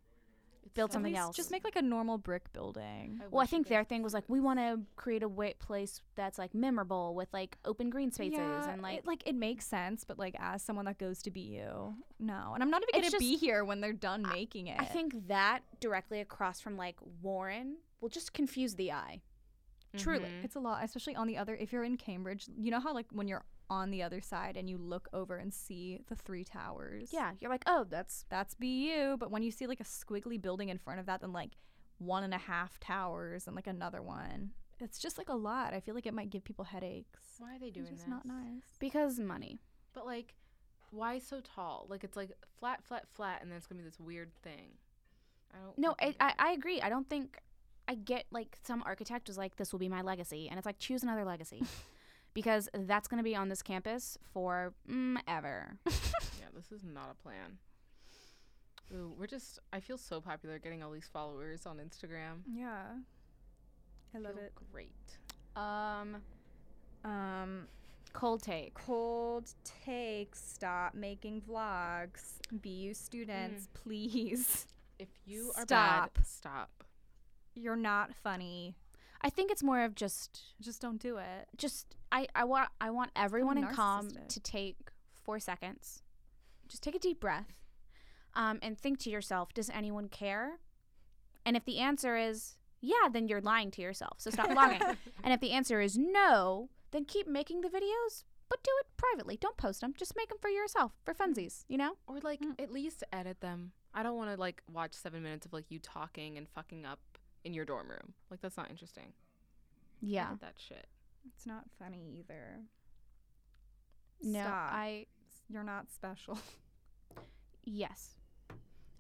S1: It's
S2: built
S1: so-
S2: something
S3: Please
S2: else.
S3: Just make like a normal brick building.
S2: Well, I
S1: wish you
S2: think
S1: guys
S2: their
S1: could
S2: thing was
S1: see
S2: like,
S1: this.
S2: we want to create a wa place that's like memorable with like open green spaces
S3: Yeah,
S2: and like,
S3: it, like it makes sense, but like as someone that goes to BU, no. And I'm not even
S2: It's
S3: gonna be
S2: just-
S3: here when they're done making it.
S2: I think that directly across from like Warren will just confuse the eye. Truly.
S1: Mhm.
S3: it's a lot, especially on the other. If you're in Cambridge, you know how like when you're on the other side and you look over and see the three towers.
S2: Yeah, you're like, oh, that's
S3: that's BU. But when you see like a squiggly building in front of that, then like one and a half towers and like another one, it's just like a lot. I feel like it might give people headaches.
S1: Why are they doing this?
S3: It's just not nice.
S2: because money.
S1: But like, why so tall? Like it's like flat, flat, flat, and then it's gonna be this weird thing. I don't.
S2: No,
S1: fucking
S2: I,
S1: get
S2: I,
S1: it.
S2: I agree. I don't think I get like some architect was like, this will be my legacy. And it's like, choose another legacy because that's going to be on this campus for mm, ever.
S1: Yeah, this is not a plan. Ooh, we're just. I feel so popular getting all these followers on Instagram.
S3: Yeah. I love
S1: Feel
S3: it.
S1: Great.
S2: um,
S3: Um,
S2: cold take.
S3: cold take. Stop making vlogs. BU students,
S2: Mm.
S3: please.
S1: If you are bad,
S3: Stop.
S1: stop.
S3: You're not funny.
S2: I think it's more of just
S3: Just don't do it.
S2: just I I want I want everyone in calm
S3: narcissistic.
S2: to take 4 seconds. Just take a deep breath. Um and think to yourself, does anyone care? And if the answer is yeah, then you're lying to yourself. So stop vlogging. and if the answer is no, then keep making the videos, but do it privately. Don't post them. Just make them for yourself, for funsies, you know?
S1: Or like
S3: Mm.
S1: at least edit them. I don't want to like watch seven minutes of like you talking and fucking up in your dorm room. Like that's not interesting.
S2: Yeah.
S1: Edit that shit.
S3: It's not funny either.
S2: No,
S3: Stop.
S2: I
S3: You're not special.
S2: yes.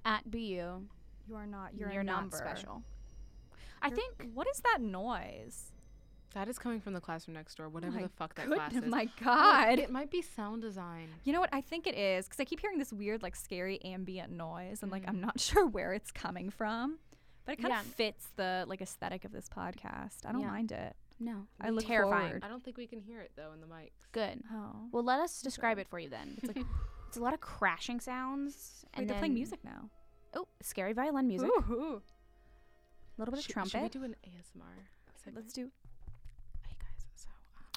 S2: At BU,
S3: You are not. You're,
S2: you're,
S3: a
S2: not
S3: number.
S2: special. I
S3: You're-
S2: think
S3: What is that noise?
S1: That is coming from the classroom next door. Whatever
S3: my
S1: the fuck that
S3: Good-
S1: class is.
S3: my
S1: Well,
S3: God.
S1: It might be sound design.
S3: You know what? I think it is because I keep hearing this weird, like, scary ambient noise, and like, I'm not sure where it's coming from, but it kind
S2: Yeah.
S3: of fits the like aesthetic of this podcast. I don't
S2: Yeah.
S3: mind it.
S2: no.
S3: I look
S2: Terrifying.
S3: forward.
S1: I don't think we can hear it though in the mics.
S2: Good.
S3: Oh,
S2: Well, let us describe it for you then. It's like it's a lot of crashing sounds.
S3: Wait,
S2: And
S3: they're playing
S2: then-
S3: music now.
S2: Oh, scary violin music. A little bit of
S1: Should-
S2: trumpet.
S1: Should we do an ASMR? segment?
S3: Let's do.
S1: Hey guys, so um,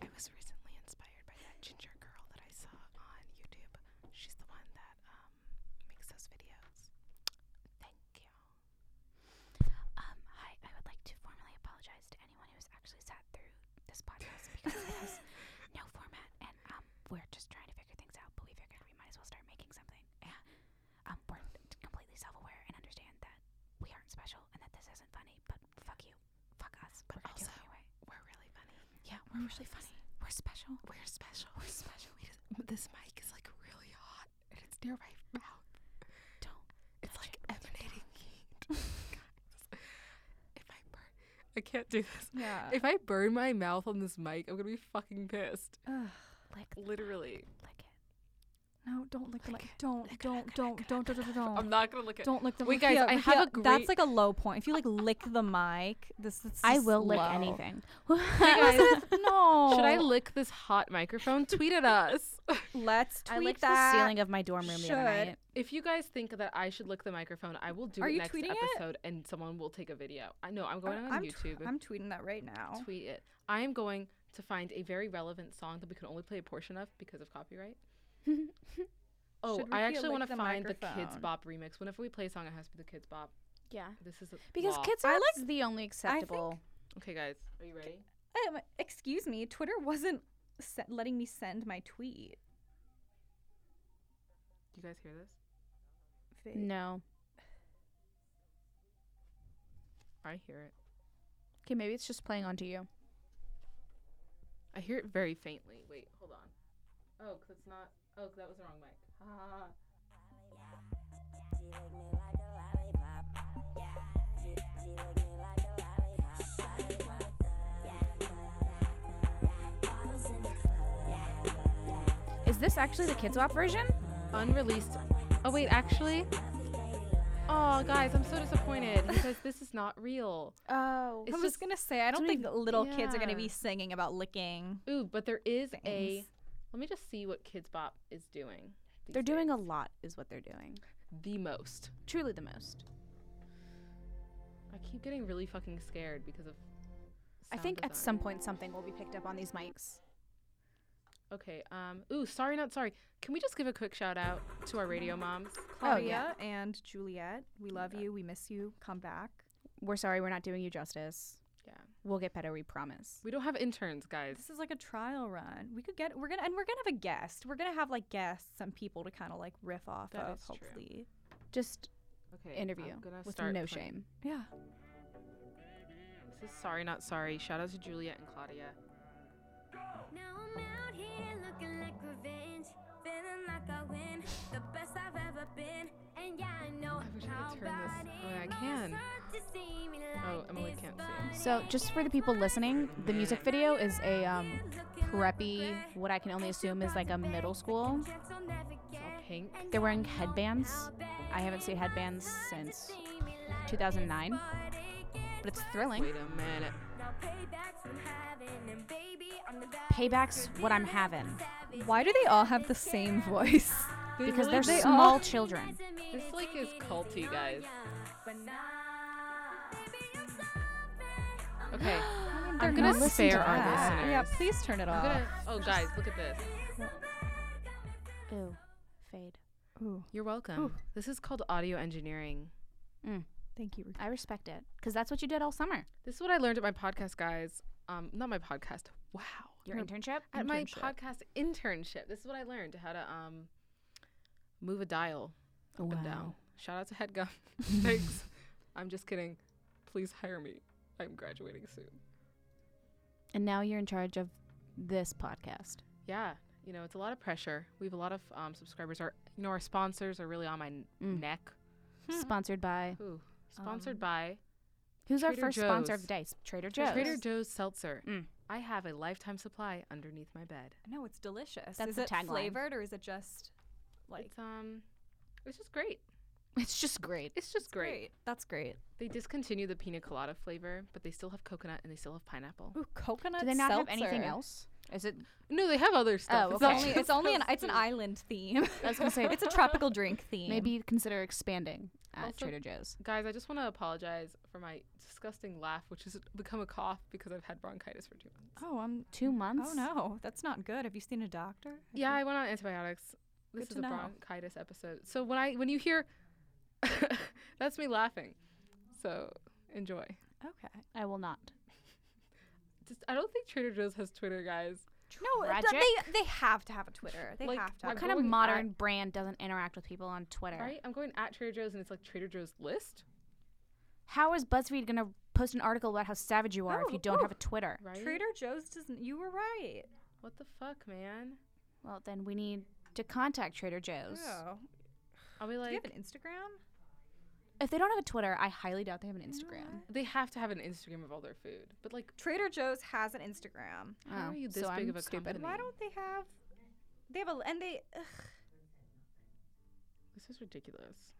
S1: I was recently inspired by that ginger girl that I saw on YouTube. She's the one that um, makes those videos. Thank you. Um, um, um,
S2: We're really funny. We're special.
S1: We're special. We're special. We just, m- this mic is like really hot and it's near my mouth.
S2: Don't
S1: It's like emanating heat. Guys, if I burn, I can't do this.
S3: Yeah.
S1: If I burn my mouth on this mic, I'm gonna be fucking pissed.
S3: Ugh.
S2: lick,
S1: Literally.
S2: lick it.
S3: No, don't lick the
S1: Lick
S3: mic.
S1: it.
S3: Don't,
S1: Lick it,
S3: don't,
S1: lick it, lick
S3: don't,
S1: it,
S3: don't, don't, don't,
S1: I'm
S3: don't.
S1: not gonna look at.
S3: Don't lick the
S1: Wait,
S3: mic.
S1: guys,
S3: Yeah,
S1: I
S3: like,
S1: have
S3: yeah,
S1: a great-
S3: That's like a low point. If you like lick the mic, this is.
S2: I
S3: just
S2: will lick
S3: low.
S2: anything.
S1: guys.
S3: Elizabeth, no.
S1: Should I lick this hot microphone? Tweet at us.
S3: Let's tweet
S2: I licked
S3: that.
S2: the ceiling of my dorm room the other
S3: Should.
S2: night.
S1: If you guys think that I should lick the microphone, I will do
S3: Are
S1: it
S3: you
S1: next
S3: tweeting it?
S1: episode, and someone will take a video. I know I'm going
S3: I-
S1: on
S3: I'm tw-
S1: YouTube.
S3: I'm oh. tweeting that right now.
S1: tweet it. I am going to find a very relevant song that we can only play a portion of because of copyright. oh,
S3: Should
S1: I
S3: Rukia
S1: actually
S3: lick
S1: want
S3: the
S1: to find the Kids
S3: microphone?
S1: Bop remix. Whenever we play a song, it has to be the Kids Bop.
S2: Yeah.
S1: This is a
S2: Because
S1: law.
S2: kids
S3: I
S2: are
S3: like-
S2: like the only acceptable.
S1: Okay, guys, are you ready?
S3: Um, excuse me, Twitter wasn't se- letting me send my tweet.
S1: Do you guys hear this?
S3: Fig.
S2: No.
S1: I hear it.
S2: Okay, maybe it's just playing onto you.
S1: I hear it very faintly. Wait, hold on. Oh, 'cause it's not. Oh, that was the wrong mic. Ah.
S2: Is this actually the Kids Wop version?
S1: Unreleased. Oh wait, actually. Oh guys, I'm so disappointed because this is not real.
S2: Oh.
S3: I
S1: It's
S3: was
S1: just-
S3: gonna say I don't
S1: don't
S3: think
S1: even-
S3: little kids are gonna
S1: yeah.
S3: be singing about licking.
S1: Ooh, but there is a.
S3: Things.
S1: Let me just see what Kids Bop is doing. these
S2: They're doing
S1: days.
S2: a lot, is what they're doing.
S1: the most.
S2: Truly the most.
S1: I keep getting really fucking scared because of.
S2: I
S1: sound
S2: think at some
S1: design.
S2: point something will be picked up on these mics.
S1: Okay. Um. Ooh, sorry, not sorry. Can we just give a quick shout out to our radio moms?
S2: Oh,
S3: Claudia
S2: yeah.
S3: and Juliet, we love you. We miss you. Come back.
S2: We're sorry we're not doing you justice.
S1: Yeah.
S2: We'll get better, we promise.
S1: We don't have interns, guys.
S3: This is like a trial run. We could get we're gonna and we're gonna have a guest. We're gonna have like guests, some people to kind of like riff off
S1: That
S3: of.
S1: is true.
S3: Hopefully,
S2: Just
S1: Okay.
S2: interview
S1: I'm gonna
S2: with
S1: start
S2: no
S1: playing.
S2: shame.
S3: yeah.
S1: This is sorry, not sorry. Shout out to Juliet and Claudia.
S4: Now I'm out here looking like revenge, feeling like I win, the best I've ever been. And yeah, I know
S1: I wish I could
S4: how
S1: turn this-
S4: bad
S1: oh, I
S4: it
S1: can.
S4: must hurt to see me
S1: Oh,
S4: like
S1: Emily
S4: this,
S1: can't
S4: but
S1: see.
S2: So, just for the people listening, the music video is a um, preppy, what I can only assume is like a middle school.
S4: chance I'll never
S1: It's all
S4: get.
S1: pink.
S2: They're wearing headbands. I haven't seen headbands since 2009, but it's thrilling.
S1: Wait a minute.
S4: Now payback's from heaven, and baby, I'm the bad
S2: Payback's what I'm having
S3: Why do they all have the same voice?
S1: They
S2: because
S1: really
S2: they're
S1: do-
S2: small children.
S1: This like is culty, guys. Okay. I'm
S3: They're
S1: gonna
S3: not
S1: spare
S3: listening to
S1: our
S3: that. Yeah,
S1: listeners.
S3: please turn it
S1: I'm
S3: off.
S1: gonna. Oh, guys, look at this.
S2: Ooh, fade.
S3: Ooh,
S1: You're welcome. This is called audio engineering.
S2: Mm,
S3: thank you.
S2: I respect it because that's what you did all summer.
S1: This is what I learned at my podcast, guys. Um, not my podcast. Wow.
S2: Your internship.
S1: at my
S3: internship.
S1: podcast internship. This is what I learned how to um move a dial up and down. Shout out to HeadGum. Thanks. I'm just kidding. Please hire me. I'm graduating soon.
S2: And now you're in charge of this podcast.
S1: Yeah, you know it's a lot of pressure. We have a lot of um, subscribers. Our you know our sponsors are really on my n-
S2: Mm.
S1: neck.
S2: Sponsored by
S1: Ooh. Sponsored
S3: Um,
S1: by
S2: who's
S1: Trader
S2: our first sponsor of
S1: Joe's.
S2: the day? Trader Joe's.
S1: Trader Joe's Seltzer.
S2: Mm.
S1: I have a lifetime supply underneath my bed.
S3: No, it's delicious.
S2: That's
S3: is
S2: the
S3: it
S2: tagline.
S3: flavored or is it just like
S1: It's um, it's just great.
S2: It's just great.
S1: It's just great.
S3: That's great.
S1: They discontinue the pina colada flavor, but they still have coconut and they still have pineapple.
S3: Ooh, coconut.
S2: Do they not have
S3: seltzer.
S2: anything else? Is it?
S1: No, they have other stuff.
S2: Oh,
S1: It's
S2: okay.
S1: not
S3: Only,
S1: just
S3: it's only an
S1: those
S3: it's an
S1: two.
S3: island theme.
S2: I was gonna say
S3: it's a tropical drink theme.
S2: maybe consider expanding at
S1: Also-
S2: Trader Joe's.
S1: Guys, I just want to apologize for my disgusting laugh, which has become a cough because I've had bronchitis for two months.
S3: Oh, I'm.
S2: Two months.
S3: Oh no, that's not good. Have you seen a doctor? Have
S1: Yeah,
S3: you-
S1: I went on antibiotics. This
S3: Good
S1: is
S3: to
S1: a
S3: know.
S1: bronchitis episode. So when I when you hear, that's me laughing. So enjoy.
S3: Okay.
S2: I will not.
S1: Just I don't think Trader Joe's has Twitter, guys.
S3: No, th-
S2: Tragic.
S3: they they have to have a Twitter. They
S1: Like,
S3: have to.
S1: I'm
S2: What
S3: Have
S2: kind of
S1: going at-
S2: modern brand doesn't interact with people on Twitter?
S1: Right? I'm going at Trader Joe's and it's like Trader Joe's list.
S2: How is BuzzFeed gonna post an article about how savage you are if
S3: Oh,
S2: you don't
S3: ooh.
S2: have a Twitter.
S1: Right?
S3: Trader Joe's doesn't. You were right.
S1: What the fuck, man?
S2: Well, then we need to contact Trader Joe's.
S3: Oh,
S1: Are we
S3: do
S1: like
S3: you have an Instagram?
S2: If they don't have a Twitter, I highly doubt they have an Instagram.
S1: they have to have an Instagram of all their food? But like,
S3: Trader Joe's has an Instagram.
S1: how
S2: Oh,
S1: are you
S2: so
S1: this big
S2: I'm
S1: of a
S2: stupid.
S1: company?
S3: Why don't they have? They have a and they. Ugh,
S1: This is ridiculous.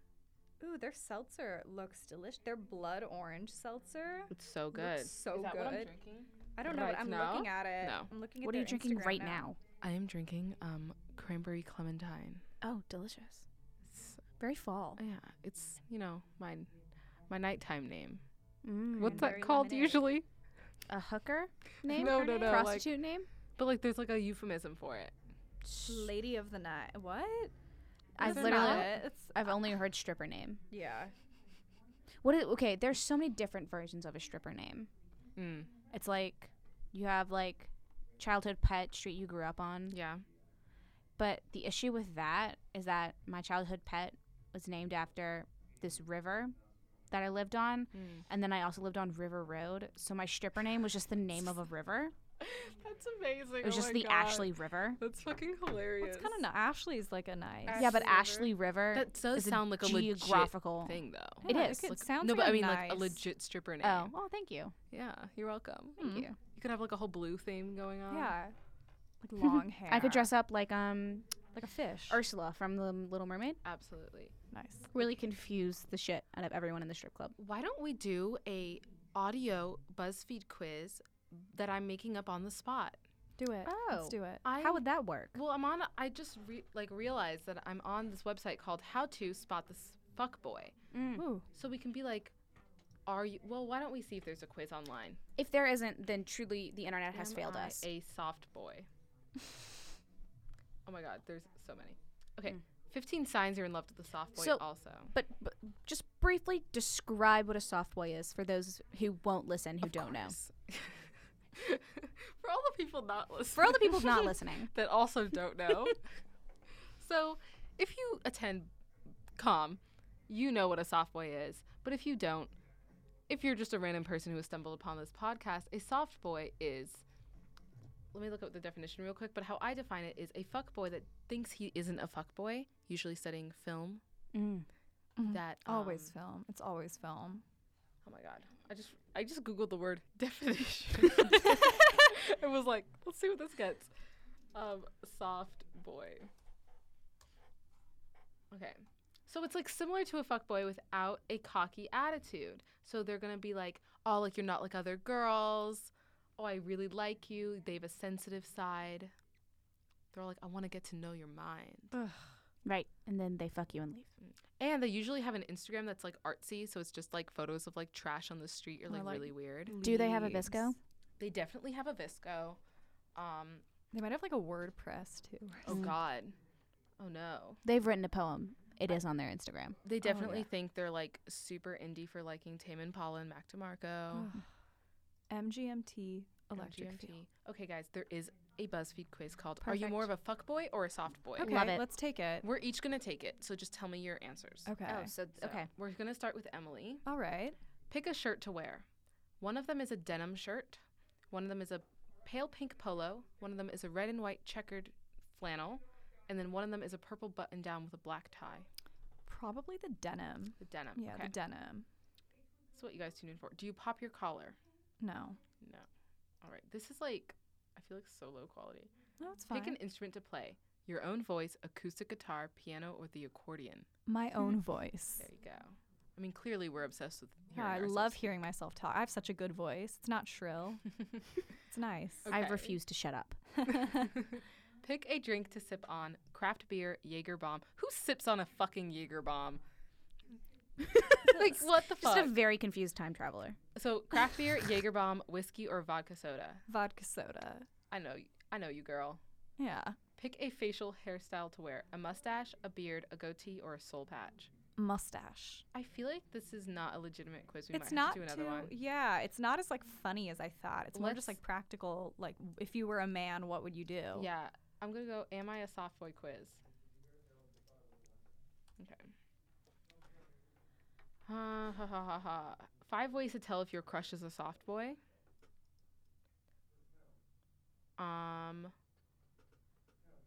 S3: ooh, their seltzer looks delicious. Their blood orange seltzer.
S1: It's so
S3: looks
S1: good.
S3: so good.
S1: drinking?
S3: I don't know. but
S1: Right
S3: I'm
S1: now?
S3: looking at it.
S1: No.
S3: I'm looking at
S2: What are you
S3: their
S2: drinking
S3: Instagram
S2: right
S3: now.
S2: now?
S1: I am drinking um cranberry clementine.
S2: Oh, delicious.
S1: It's,
S2: Very fall.
S1: Oh, yeah, it's you know my my nighttime name.
S2: Mm.
S1: What's that
S3: Cranberry
S1: called
S3: lemonade.
S1: usually?
S2: a hooker name?
S1: No,
S2: Her
S1: no,
S2: name?
S1: no, like-
S2: Prostitute name?
S1: But like, there's like a euphemism for it.
S3: Lady of the night. What?
S2: I've
S3: That's
S1: They're
S2: literally,
S3: not it. It's
S2: I've only heard stripper name.
S3: yeah.
S2: What? Is, okay, there's so many different versions of a stripper name.
S1: Mm,
S2: It's like you have like childhood pet, street you grew up on.
S1: yeah.
S2: But the issue with that is that my childhood pet was named after this river that I lived on,
S1: Mm.
S2: and then I also lived on River Road. So my stripper name was just the name of a river.
S1: That's amazing. Oh
S2: It was just the Ashley River.
S1: That's fucking hilarious.
S3: It's kind of Ashley's like a nice.
S1: Ash-
S2: yeah, but
S1: Ashley
S2: Ashley River.
S1: That does
S2: is a
S1: sound like a legit
S2: geographical
S1: thing though.
S2: It
S3: Yeah,
S2: is.
S3: It
S1: Like-
S3: sounds
S1: no,
S3: like
S1: but I
S3: a
S1: mean
S3: nice.
S1: like a legit stripper name.
S2: Oh, well, thank you.
S1: Yeah, you're welcome.
S2: Thank
S3: Hmm.
S2: you.
S1: You could have like a whole blue theme going on.
S3: Yeah. Like long hair.
S2: I could dress up like um
S3: like a fish.
S2: Ursula from the Little Mermaid.
S1: absolutely.
S3: nice.
S2: Really confuse the shit out of everyone in the strip club.
S1: Why don't we do a audio BuzzFeed quiz that I'm making up on the spot?
S3: Do it.
S2: Oh.
S3: Let's do it.
S1: I
S2: How would that work?
S1: Well, I'm on. I just re- like realized that I'm on this website called How to Spot This Fuck Boy,
S2: Mm.
S3: Ooh.
S1: so we can be like, are you? Well, why don't we see if there's a quiz online?
S2: If there isn't, then truly the internet has
S1: Am
S2: failed
S1: I
S2: us.
S1: A soft boy. oh my God, there's so many. Okay, 15 signs you're in love with the soft boy.
S2: Hmm. So-
S1: also,
S2: but, but just briefly describe what a soft boy is for those who won't listen, who don't know.
S1: For all the people not listening.
S2: For all the people not listening,
S1: that also don't know. so, if you attend com, you know what a soft boy is. But if you don't, if you're just a random person who has stumbled upon this podcast, a soft boy is. Let me look up the definition real quick. But how I define it is a fuck boy that thinks he isn't a fuck boy, usually studying film.
S2: mm.
S3: Mhm.
S1: That
S3: Always
S1: um,
S3: film. It's always film.
S1: Oh my god. I just I just googled the word definition. it was like, let's see what this gets. Um soft boy. Okay. So it's like similar to a fuckboy without a cocky attitude. So they're going to be like, "Oh, like you're not like other girls. Oh, I really like you." They have a sensitive side. They're like, "I want to get to know your mind."
S2: right? And then they fuck you and leave.
S1: And they usually have an Instagram that's like artsy, so it's just like photos of like trash on the street or
S3: Or,
S1: like,
S3: like,
S1: really weird.
S2: Do they have a
S3: Leaves.
S2: Visco?
S1: They definitely have a Visco. Um,
S3: They might have like a WordPress too.
S1: oh God, oh no.
S2: They've written a poem. It is on their Instagram.
S1: They definitely
S3: Oh, yeah.
S1: think they're like super indie for liking Tame Impala and Mac DeMarco.
S3: MGMT
S1: and
S3: Oh, electric
S1: GMT.
S3: field.
S1: Okay, guys, there is a BuzzFeed quiz called "Are you more of a fuck boy or a soft boy?"
S3: Okay,
S2: Love it.
S3: let's take it.
S1: We're each gonna take it, so just tell me your answers.
S3: Okay.
S2: oh, so
S1: So, We're gonna start with Emily.
S3: All right.
S1: Pick a shirt to wear. One of them is a denim shirt. One of them is a pale pink polo. One of them is a red and white checkered flannel. And then one of them is a purple button down with a black tie.
S3: Probably the denim.
S1: The denim.
S3: Yeah,
S1: okay.
S3: the denim.
S1: That's what you guys tune in for. Do you pop your collar?
S3: No.
S1: No. All right. This is like, I feel like so low quality.
S3: No, it's fine.
S1: Pick an instrument to play your own voice, acoustic guitar, piano, or the accordion.
S3: My own voice.
S1: There you go. I mean, clearly we're obsessed with
S3: Yeah,
S1: hearing
S3: I love hearing myself talk. I have such a good voice. It's not shrill.
S1: hearing.
S3: It's nice.
S2: I
S1: Okay.
S2: refuse to shut up.
S1: Pick a drink to sip on craft beer, Jaeger bomb. Who sips on a fucking Jaeger bomb? like, what the
S2: Just
S1: fuck?
S2: a very confused time traveler.
S1: so, craft beer, Jaeger bomb, whiskey, or vodka soda?
S3: Vodka soda.
S1: I know, I know you, girl.
S3: Yeah.
S1: Pick a facial hairstyle to wear a mustache, a beard, a goatee, or a soul patch.
S3: Mustache.
S1: I feel like this is not a legitimate quiz. We
S3: it's
S1: might
S3: not
S1: have to do another
S3: too-
S1: one.
S3: Yeah, it's not as like funny as I thought. It's more just
S1: Let's-
S3: like practical. Like, if you were a man, what would you do?
S2: Oh.
S1: Yeah, I'm gonna go. Am I a soft boy quiz? Okay. Um, Uh, ha, ha, ha, ha. Five ways to tell if your crush is a soft boy. Um,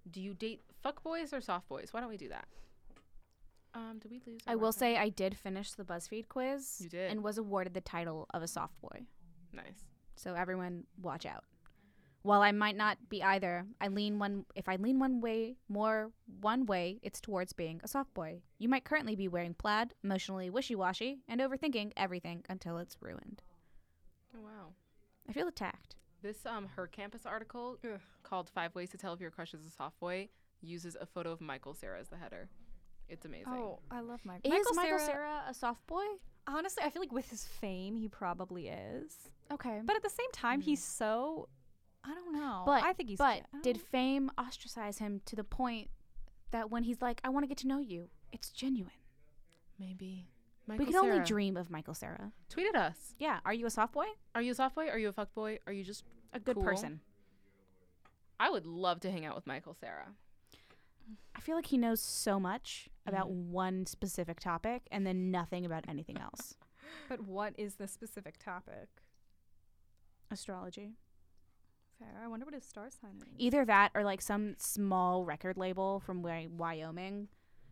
S1: do you date fuck boys or soft boys? Why don't we do that? Um, do we lose? our
S2: I will
S1: webcam?
S2: say I did finish the BuzzFeed quiz.
S1: You did.
S2: And was awarded the title of a soft boy.
S1: nice.
S2: So everyone, watch out. While I might not be either, I lean one. If I lean one way more one way, it's towards being a soft boy. You might currently be wearing plaid, emotionally wishy-washy, and overthinking everything until it's ruined.
S1: Oh, wow.
S2: I feel attacked.
S1: This um her campus article
S3: Ugh.
S1: called Five Ways to Tell If Your Crush is a Soft Boy uses a photo of Michael Sarah as the header. It's amazing.
S3: Oh, I love Mike.
S2: Is Michael Sarah a soft boy?
S3: Honestly, I feel like with his fame, he probably is.
S2: Okay,
S3: But at the same time, he's so. I don't know.
S2: but
S3: I think he's.
S2: But
S3: I
S2: did
S3: don't-
S2: fame ostracize him to the point that when he's like, "I want to get to know you," it's genuine.
S1: Maybe. Michael
S2: we can only
S1: Cera.
S2: dream of Michael Sarah.
S1: Tweeted us.
S2: Yeah, are you a soft boy?
S1: Are you a soft boy? Are you a fuck boy? Are you just
S2: A good
S1: Cool.
S2: person.
S1: I would love to hang out with Michael Sarah.
S2: I feel like he knows so much about one specific topic and then nothing about anything else.
S3: but what is the specific topic?
S2: Astrology.
S3: Fair. I wonder what his star sign is.
S2: Either that or like some small record label from Wy- Wyoming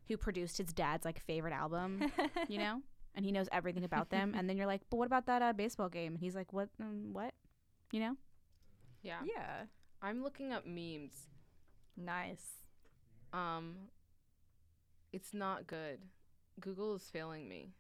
S2: who produced his dad's like favorite album, you know? And he knows everything about them. And then you're like, but what about that uh, baseball game? And he's like, what? Um, what? You know?
S1: Yeah.
S3: yeah.
S1: I'm looking up memes.
S3: Nice.
S1: Um it's not good. Google is failing me.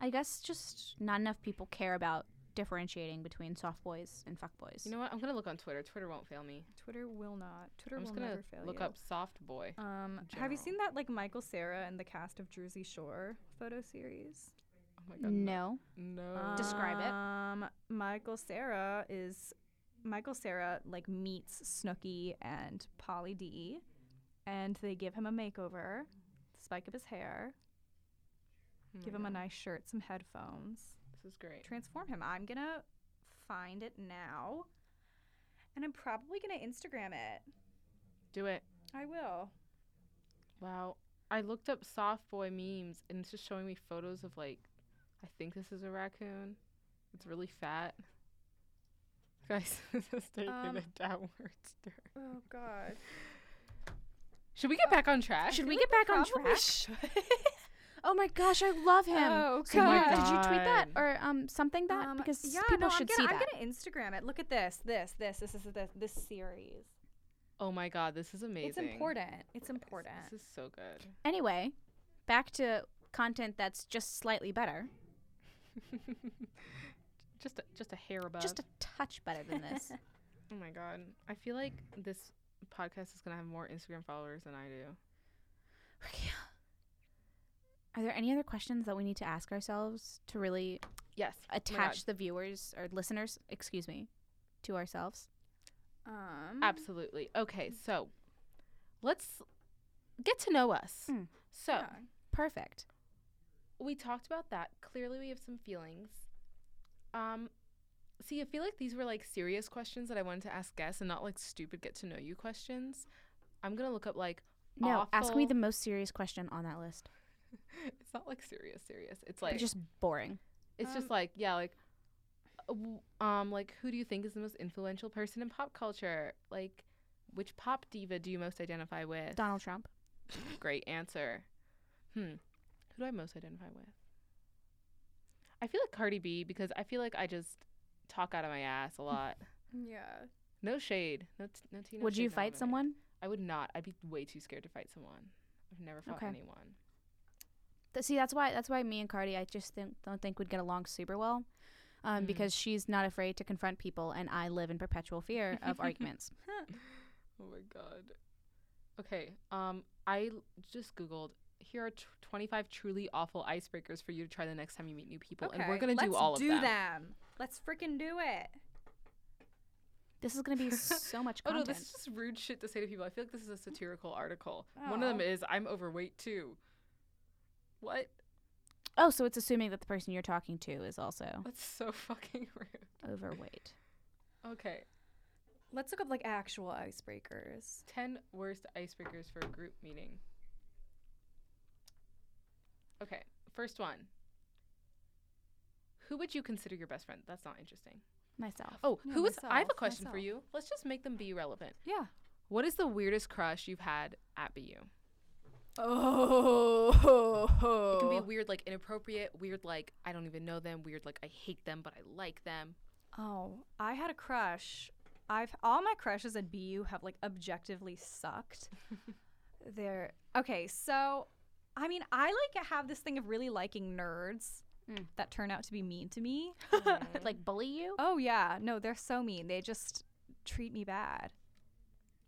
S2: I guess just not enough people care about differentiating between soft boys and fuck boys.
S1: You know what? I'm gonna look on Twitter. Twitter won't fail me.
S3: Twitter will not. Twitter
S1: I'm
S3: will
S1: just gonna
S3: never fail
S1: look
S3: you.
S1: up soft boy.
S3: Um,
S1: in
S3: have
S1: general.
S3: you seen that like Michael Sarah and the cast of Jersey Shore photo series?
S1: Oh my god.
S2: no.
S1: No.
S2: Describe it.
S3: Um, Michael Sarah is Michael Sarah like meets Snooky and Polly D, and they give him a makeover, spike up his hair,
S1: Oh my
S3: give him a
S1: God.
S3: nice shirt, some headphones,
S1: This is great.
S3: transform him. I'm gonna find it now, and I'm probably gonna Instagram it.
S1: Do it.
S3: I will.
S1: Wow. I looked up soft boy memes and it's just showing me photos of like I think this is a raccoon. It's really fat. Guys, this is taking
S3: Um,
S1: a downward turn.
S3: Oh God.
S1: Uh, Should we get back on track?
S2: Should we get back on track? Oh my gosh, I love him.
S3: Oh,
S2: So you-
S1: God.
S2: Did you tweet that
S1: God.
S2: or um something that
S3: Um,
S2: because people should
S3: I'm
S2: see
S3: gonna,
S2: that.
S3: I'm gonna Instagram it. Look at this, this, this, this, this, this, this series.
S1: Oh my god, this is amazing.
S3: It's important. It's important.
S1: This is so good.
S2: Anyway, back to content that's just slightly better,
S1: just a, just a hair above.
S2: just a touch better than this.
S1: oh my god. I feel like this podcast is going to have more Instagram followers than I do.
S2: Are there any other questions that we need to ask ourselves to really
S1: Yes. Oh my God.
S2: attach the viewers or listeners, excuse me, to ourselves?
S3: um,
S1: Mm-hmm. Absolutely. Okay, so let's get to know us.
S2: Mm.
S1: So,
S3: yeah.
S2: Perfect.
S1: we talked about that. Clearly, we have some feelings. Um, see, I feel like these were like serious questions that I wanted to ask guests and not like stupid get to know you questions. I'm going to look up like,
S2: No, ask me
S1: Awful.
S2: the most serious question on that list.
S1: it's not like serious, serious. It's like,
S2: just boring.
S1: it's just
S3: um,
S1: like, yeah, like, uh, w- um, like who do you think is the most influential person in pop culture? Like, which pop diva do you most identify with?
S2: Donald Trump.
S1: Great answer. Hmm. Who do I most identify with? I feel like Cardi B because I feel like I just talk out of my ass a
S2: Hmm.
S1: lot.
S3: Yeah.
S1: no shade. No, t- no tea. No
S2: Would
S1: shade,
S2: you
S1: no
S2: fight
S1: lemonade.
S2: someone?
S1: I would not. I'd be way too scared to fight someone. I've never fought
S2: Okay.
S1: anyone.
S2: Th- see that's why that's why me and cardi i just think, don't think would get along super well um,
S1: Mm.
S2: because she's not afraid to confront people and i live in perpetual fear of arguments
S1: Oh my god. Okay. Um, I l- just googled. Here are t- 25 truly awful icebreakers for you to try the next time you meet new people, and we're
S3: Okay,
S1: gonna do
S3: let's
S1: all
S3: do
S1: of them.
S3: them. Let's freaking do it.
S2: this is going to be so much
S1: Oh no,
S2: content
S1: this is just rude shit to say to people. I feel like this is a satirical article. One of them
S3: Oh.
S1: is I'm overweight too. What?
S2: oh so it's assuming that the person you're talking to is also
S1: That's so fucking rude.
S2: overweight
S1: Okay.
S3: Let's look up like actual icebreakers.
S1: Ten worst icebreakers for a group meeting. Okay. First one. Who would you consider your best friend? That's not interesting.
S2: myself.
S1: Oh,
S2: No,
S1: who was? I have a
S2: myself,
S1: question for
S2: myself.
S1: you. Let's just make them be relevant.
S2: Yeah.
S1: What is the weirdest crush you've had at BU?
S2: Oh.
S1: It can be weird, like inappropriate. Weird, like I don't even know them. Weird, like I hate them but I like them.
S3: Oh, I had a crush. I've all my crushes at BU have like objectively sucked. They're okay. So, I mean, I like have this thing of really liking nerds
S2: Mm.
S3: that turn out to be mean to me.
S1: Mhm.
S2: like bully you?
S3: Oh yeah, no, they're so mean. They just treat me bad.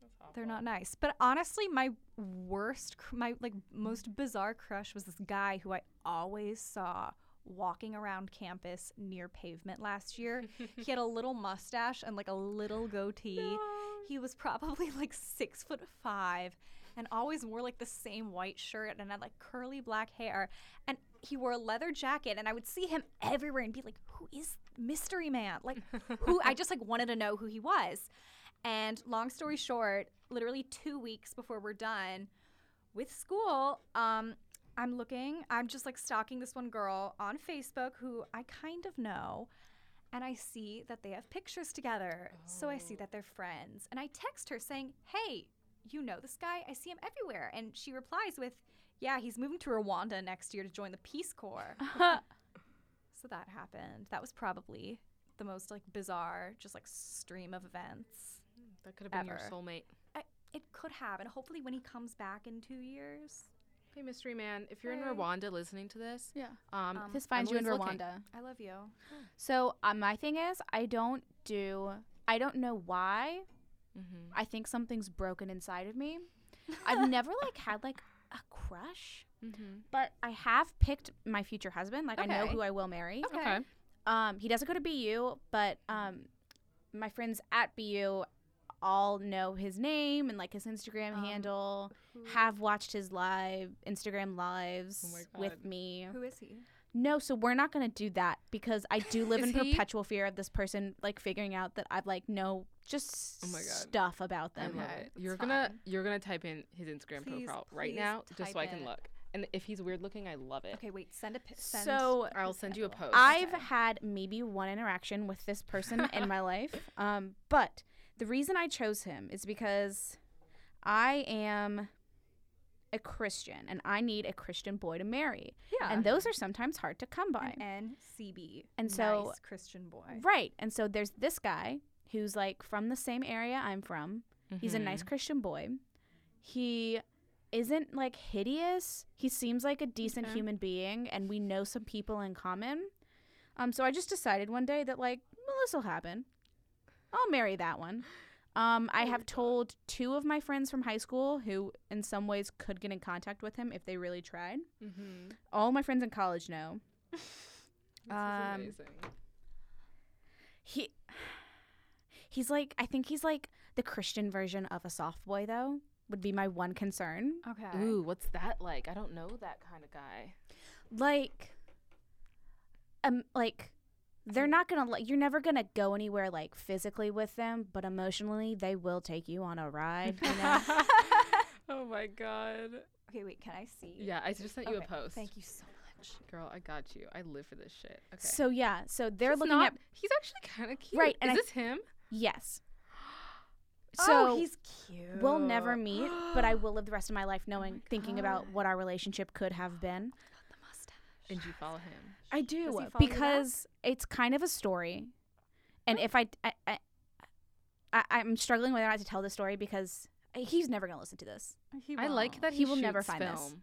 S1: That's awful.
S3: They're not nice. But honestly, my worst, cr- my like most bizarre crush was this guy who I always saw walking around campus near pavement last year. he had a little mustache and like a little goatee. He was probably like six foot five and always wore like the same white shirt and had like curly black hair. And he wore a leather jacket. And I would see him everywhere and be like, who is Mystery Man? Like, who I just like wanted to know who he was. And long story short, literally two weeks before we're done with school, um, I'm looking, I'm just like stalking this one girl on Facebook who I kind of know. And I see that they have pictures together. So I see
S1: Oh.
S3: that they're friends. And I text her saying, Hey, you know this guy? I see him everywhere. And she replies with, Yeah, he's moving to Rwanda next year to join the Peace Corps. So that happened. That was probably the most like bizarre, just like stream of events.
S1: That could have been your
S3: Ever.
S1: soulmate.
S3: I, it could happen. Hopefully, when he comes back in two years,
S1: Hey, mystery man, if you're in
S3: Hey.
S1: Rwanda listening to this,
S2: yeah.
S1: um,
S3: Um,
S2: This finds you in
S1: Emily's
S2: Rwanda.
S1: looking.
S3: I love you.
S2: So uh, my thing is, I don't do. I don't know why.
S1: mhm.
S2: I think something's broken inside of me. I've never like had like a crush,
S3: mm-hmm.
S2: but I have picked my future husband. Like I know
S3: Okay.
S2: who I will marry.
S3: Okay.
S1: Okay.
S2: Um, he doesn't go to BU, but um, my friends at BU all know his name and like his Instagram
S3: Um,
S2: handle.
S3: Who,
S2: Have watched his live Instagram lives
S1: Oh my
S2: with
S1: God.
S2: me.
S3: who is he?
S2: No, so we're not gonna do that because I do live in
S1: Is he-
S2: perpetual fear of this person like figuring out that I've like know just
S1: Oh my God.
S2: stuff about
S1: I
S2: them.
S1: love
S3: Okay,
S1: it.
S3: that's
S1: You're gonna
S3: fine.
S1: you're gonna type in his Instagram
S3: Please,
S1: profile right
S3: please
S1: now, just so I
S3: type
S1: can
S3: it.
S1: look. And if he's weird looking, I love it.
S3: Okay, wait. Send a pi- send.
S2: So
S1: I'll send you a post.
S2: I've
S3: Okay.
S2: had maybe one interaction with this person in my life, um, but the reason I chose him is because I am a Christian and I need a Christian boy to marry,
S3: yeah,
S2: and those are sometimes hard to come by.
S3: an NCB.
S2: And so-
S3: nice Christian boy.
S2: Right. And so there's this guy who's like from the same area I'm from.
S1: Mm-hmm.
S2: He's a nice Christian boy. He isn't like hideous. He seems like a decent
S1: Okay.
S2: human being and we know some people in common. Um so I just decided one day that like well, this will happen. I'll marry that one. Um, I have told two of my friends from high school who, in some ways, could get in contact with him if they really tried.
S1: Mm-hmm.
S2: All my friends in college know.
S3: Mm-hmm.
S2: Um,
S1: This is amazing.
S2: He he's like I think he's like the Christian version of a soft boy though would be my one concern.
S3: Okay.
S1: Ooh, what's that like? I don't know that kind of guy.
S2: Like um like they're not going to like you're never going to go anywhere like physically with them, but emotionally they will take you on a ride. you know?
S1: oh my god.
S3: Okay, wait. Can I see?
S1: Yeah, I just sent you
S3: Okay,
S1: a post.
S3: Thank you so much.
S1: Girl, I got you. I live for this shit. Okay.
S2: So yeah, so they're
S1: He's
S2: looking
S1: not-
S2: at
S1: He's actually kind of cute.
S2: Right,
S1: Is
S2: and I-
S1: this him?
S2: yes. So
S3: oh, he's cute.
S2: we'll never meet, but I will live the rest of my life knowing thinking about what our relationship could have been.
S3: the mustache.
S1: And you follow him.
S2: I do
S3: follow you back?
S2: because it's kind of a story, and if I, I, I, I I'm struggling whether or not to tell the story because he's never gonna listen to this.
S3: He
S1: I like
S3: won't.
S1: that
S2: He
S1: he,
S2: will never
S1: shoots
S2: find this.
S1: film.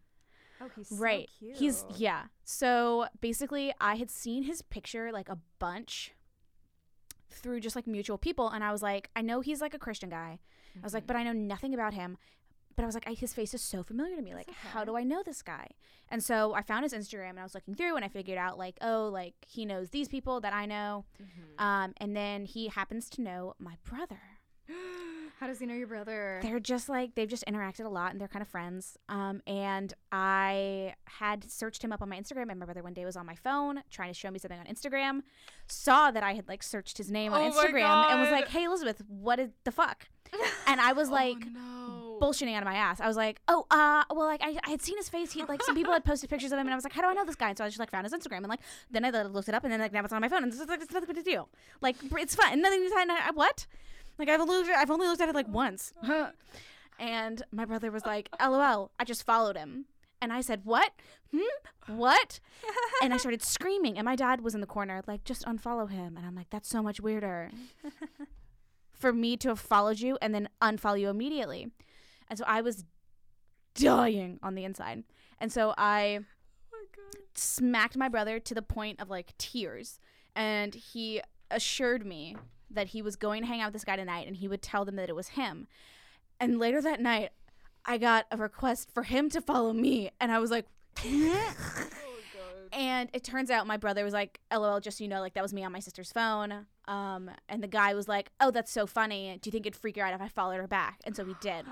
S3: Oh, he's
S2: right?
S3: So cute.
S2: He's yeah. So basically, I had seen his picture like a bunch through just like mutual people, and I was like, I know he's like a Christian guy. I
S3: Mm-hmm.
S2: was like, but I know nothing about him. But I was like, I, his face is so familiar to me. Like,
S3: That's
S2: how
S3: okay.
S2: do I know this guy? And so I found his Instagram and I was looking through and I figured out, like, oh, like he knows these people that I know. Um, and then he happens to know my brother.
S3: How does he know your brother?
S2: They're just like, they've just interacted a lot and they're kind of friends. Um, and I had searched him up on my Instagram and my brother one day was on my phone trying to show me something on Instagram, saw that I had like searched his name on
S1: Oh my
S2: Instagram and
S1: God.
S2: was
S1: Oh,
S2: like, hey, Elizabeth, what is the fuck? And I was like,
S1: no.
S2: bullshitting out of my ass. I was like, oh, uh, well, like I, I had seen his face. He like some people had posted pictures of him, and I was like, how do I know this guy? And so I just like found his Instagram, and like then I like, looked it up, and then like now it's on my phone, and it's, like, it's nothing but a deal. Like br- it's fun. Nothing. I, I, what? Like I've only I've only looked at it like once. and my brother was like, lol. I just followed him. And I said, "What? Hmm? What?" and I started screaming. And my dad was in the corner, like, "Just unfollow him." And I'm like, "That's so much weirder." for me to have followed you and then unfollow you immediately. And so I was dying on the inside. And so I smacked my brother to the point of like tears. And he assured me that he was going to hang out with this guy tonight and he would tell them that it was him. And later that night, I got a request for him to follow me. And I was like, and it turns out my brother was like, "LOL, just so you know, like that was me on my sister's phone." Um, and the guy was like, "Oh, that's so funny. Do you think it'd freak her out if I followed her back?" And so we did.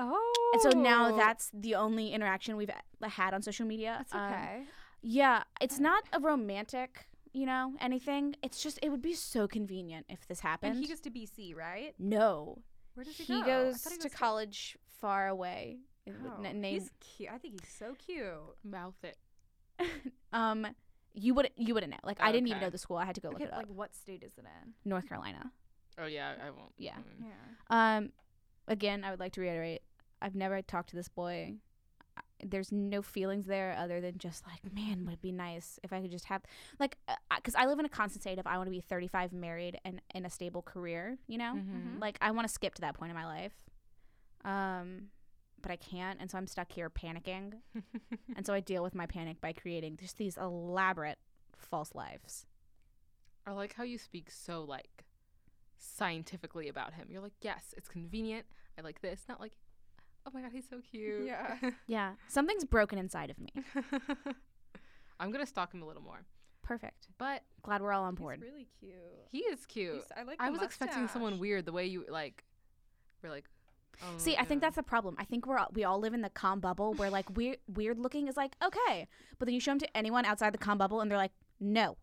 S3: Oh.
S2: and so now that's the only interaction we've uh, had on social media.
S3: That's
S2: Um,
S3: okay.
S2: yeah, it's not a romantic, you know, anything. It's just it would be so convenient if this happened.
S3: and he goes to BC, right?
S2: no,
S3: Where does he,
S2: he
S3: go? I
S2: goes
S3: thought he
S2: to college far away. It would
S3: Oh,
S2: n- name-
S3: He's cute. I think he's so cute.
S1: Mouth it.
S2: um, you would you wouldn't know. Like I didn't even
S1: Okay.
S2: know the school. I had to go look
S3: Oh, Okay,
S2: it up.
S3: like what state is it in?
S2: North Carolina.
S1: Oh yeah, I won't.
S2: Yeah.
S1: mm.
S3: Yeah.
S2: Um, again, I would like to reiterate, I've never talked to this boy. I- There's no feelings there other than just like, man, would it be nice if I could just have like, because I live in a constant state of I want to be 35, married, and in a stable career. You know, Mm-hmm.
S1: Mhm.
S2: like I want to skip to that point in my life, um, but I can't, and so I'm stuck here panicking,
S1: Mm-hmm.
S2: and so I deal with my panic by creating just these elaborate false lives.
S1: I like how you speak so like scientifically about him. You're like, yes, it's convenient. I like this. Not like, oh my god, he's so cute.
S3: Yeah.
S2: Yeah, something's broken inside of me.
S1: I'm gonna stalk him a little more,
S2: Perfect.
S1: but
S2: Glad we're all on
S3: He's
S2: board.
S3: really cute.
S1: he is cute.
S3: He's- I like.
S1: I
S3: the
S1: was expecting someone
S3: mustache.
S1: weird. The way you like, we're like. Oh,
S2: See, I think
S1: yeah.
S2: that's the problem. I think we're all, we all live in the calm bubble where like weird weird looking is like okay, but then you show him to anyone outside the calm bubble and they're like no,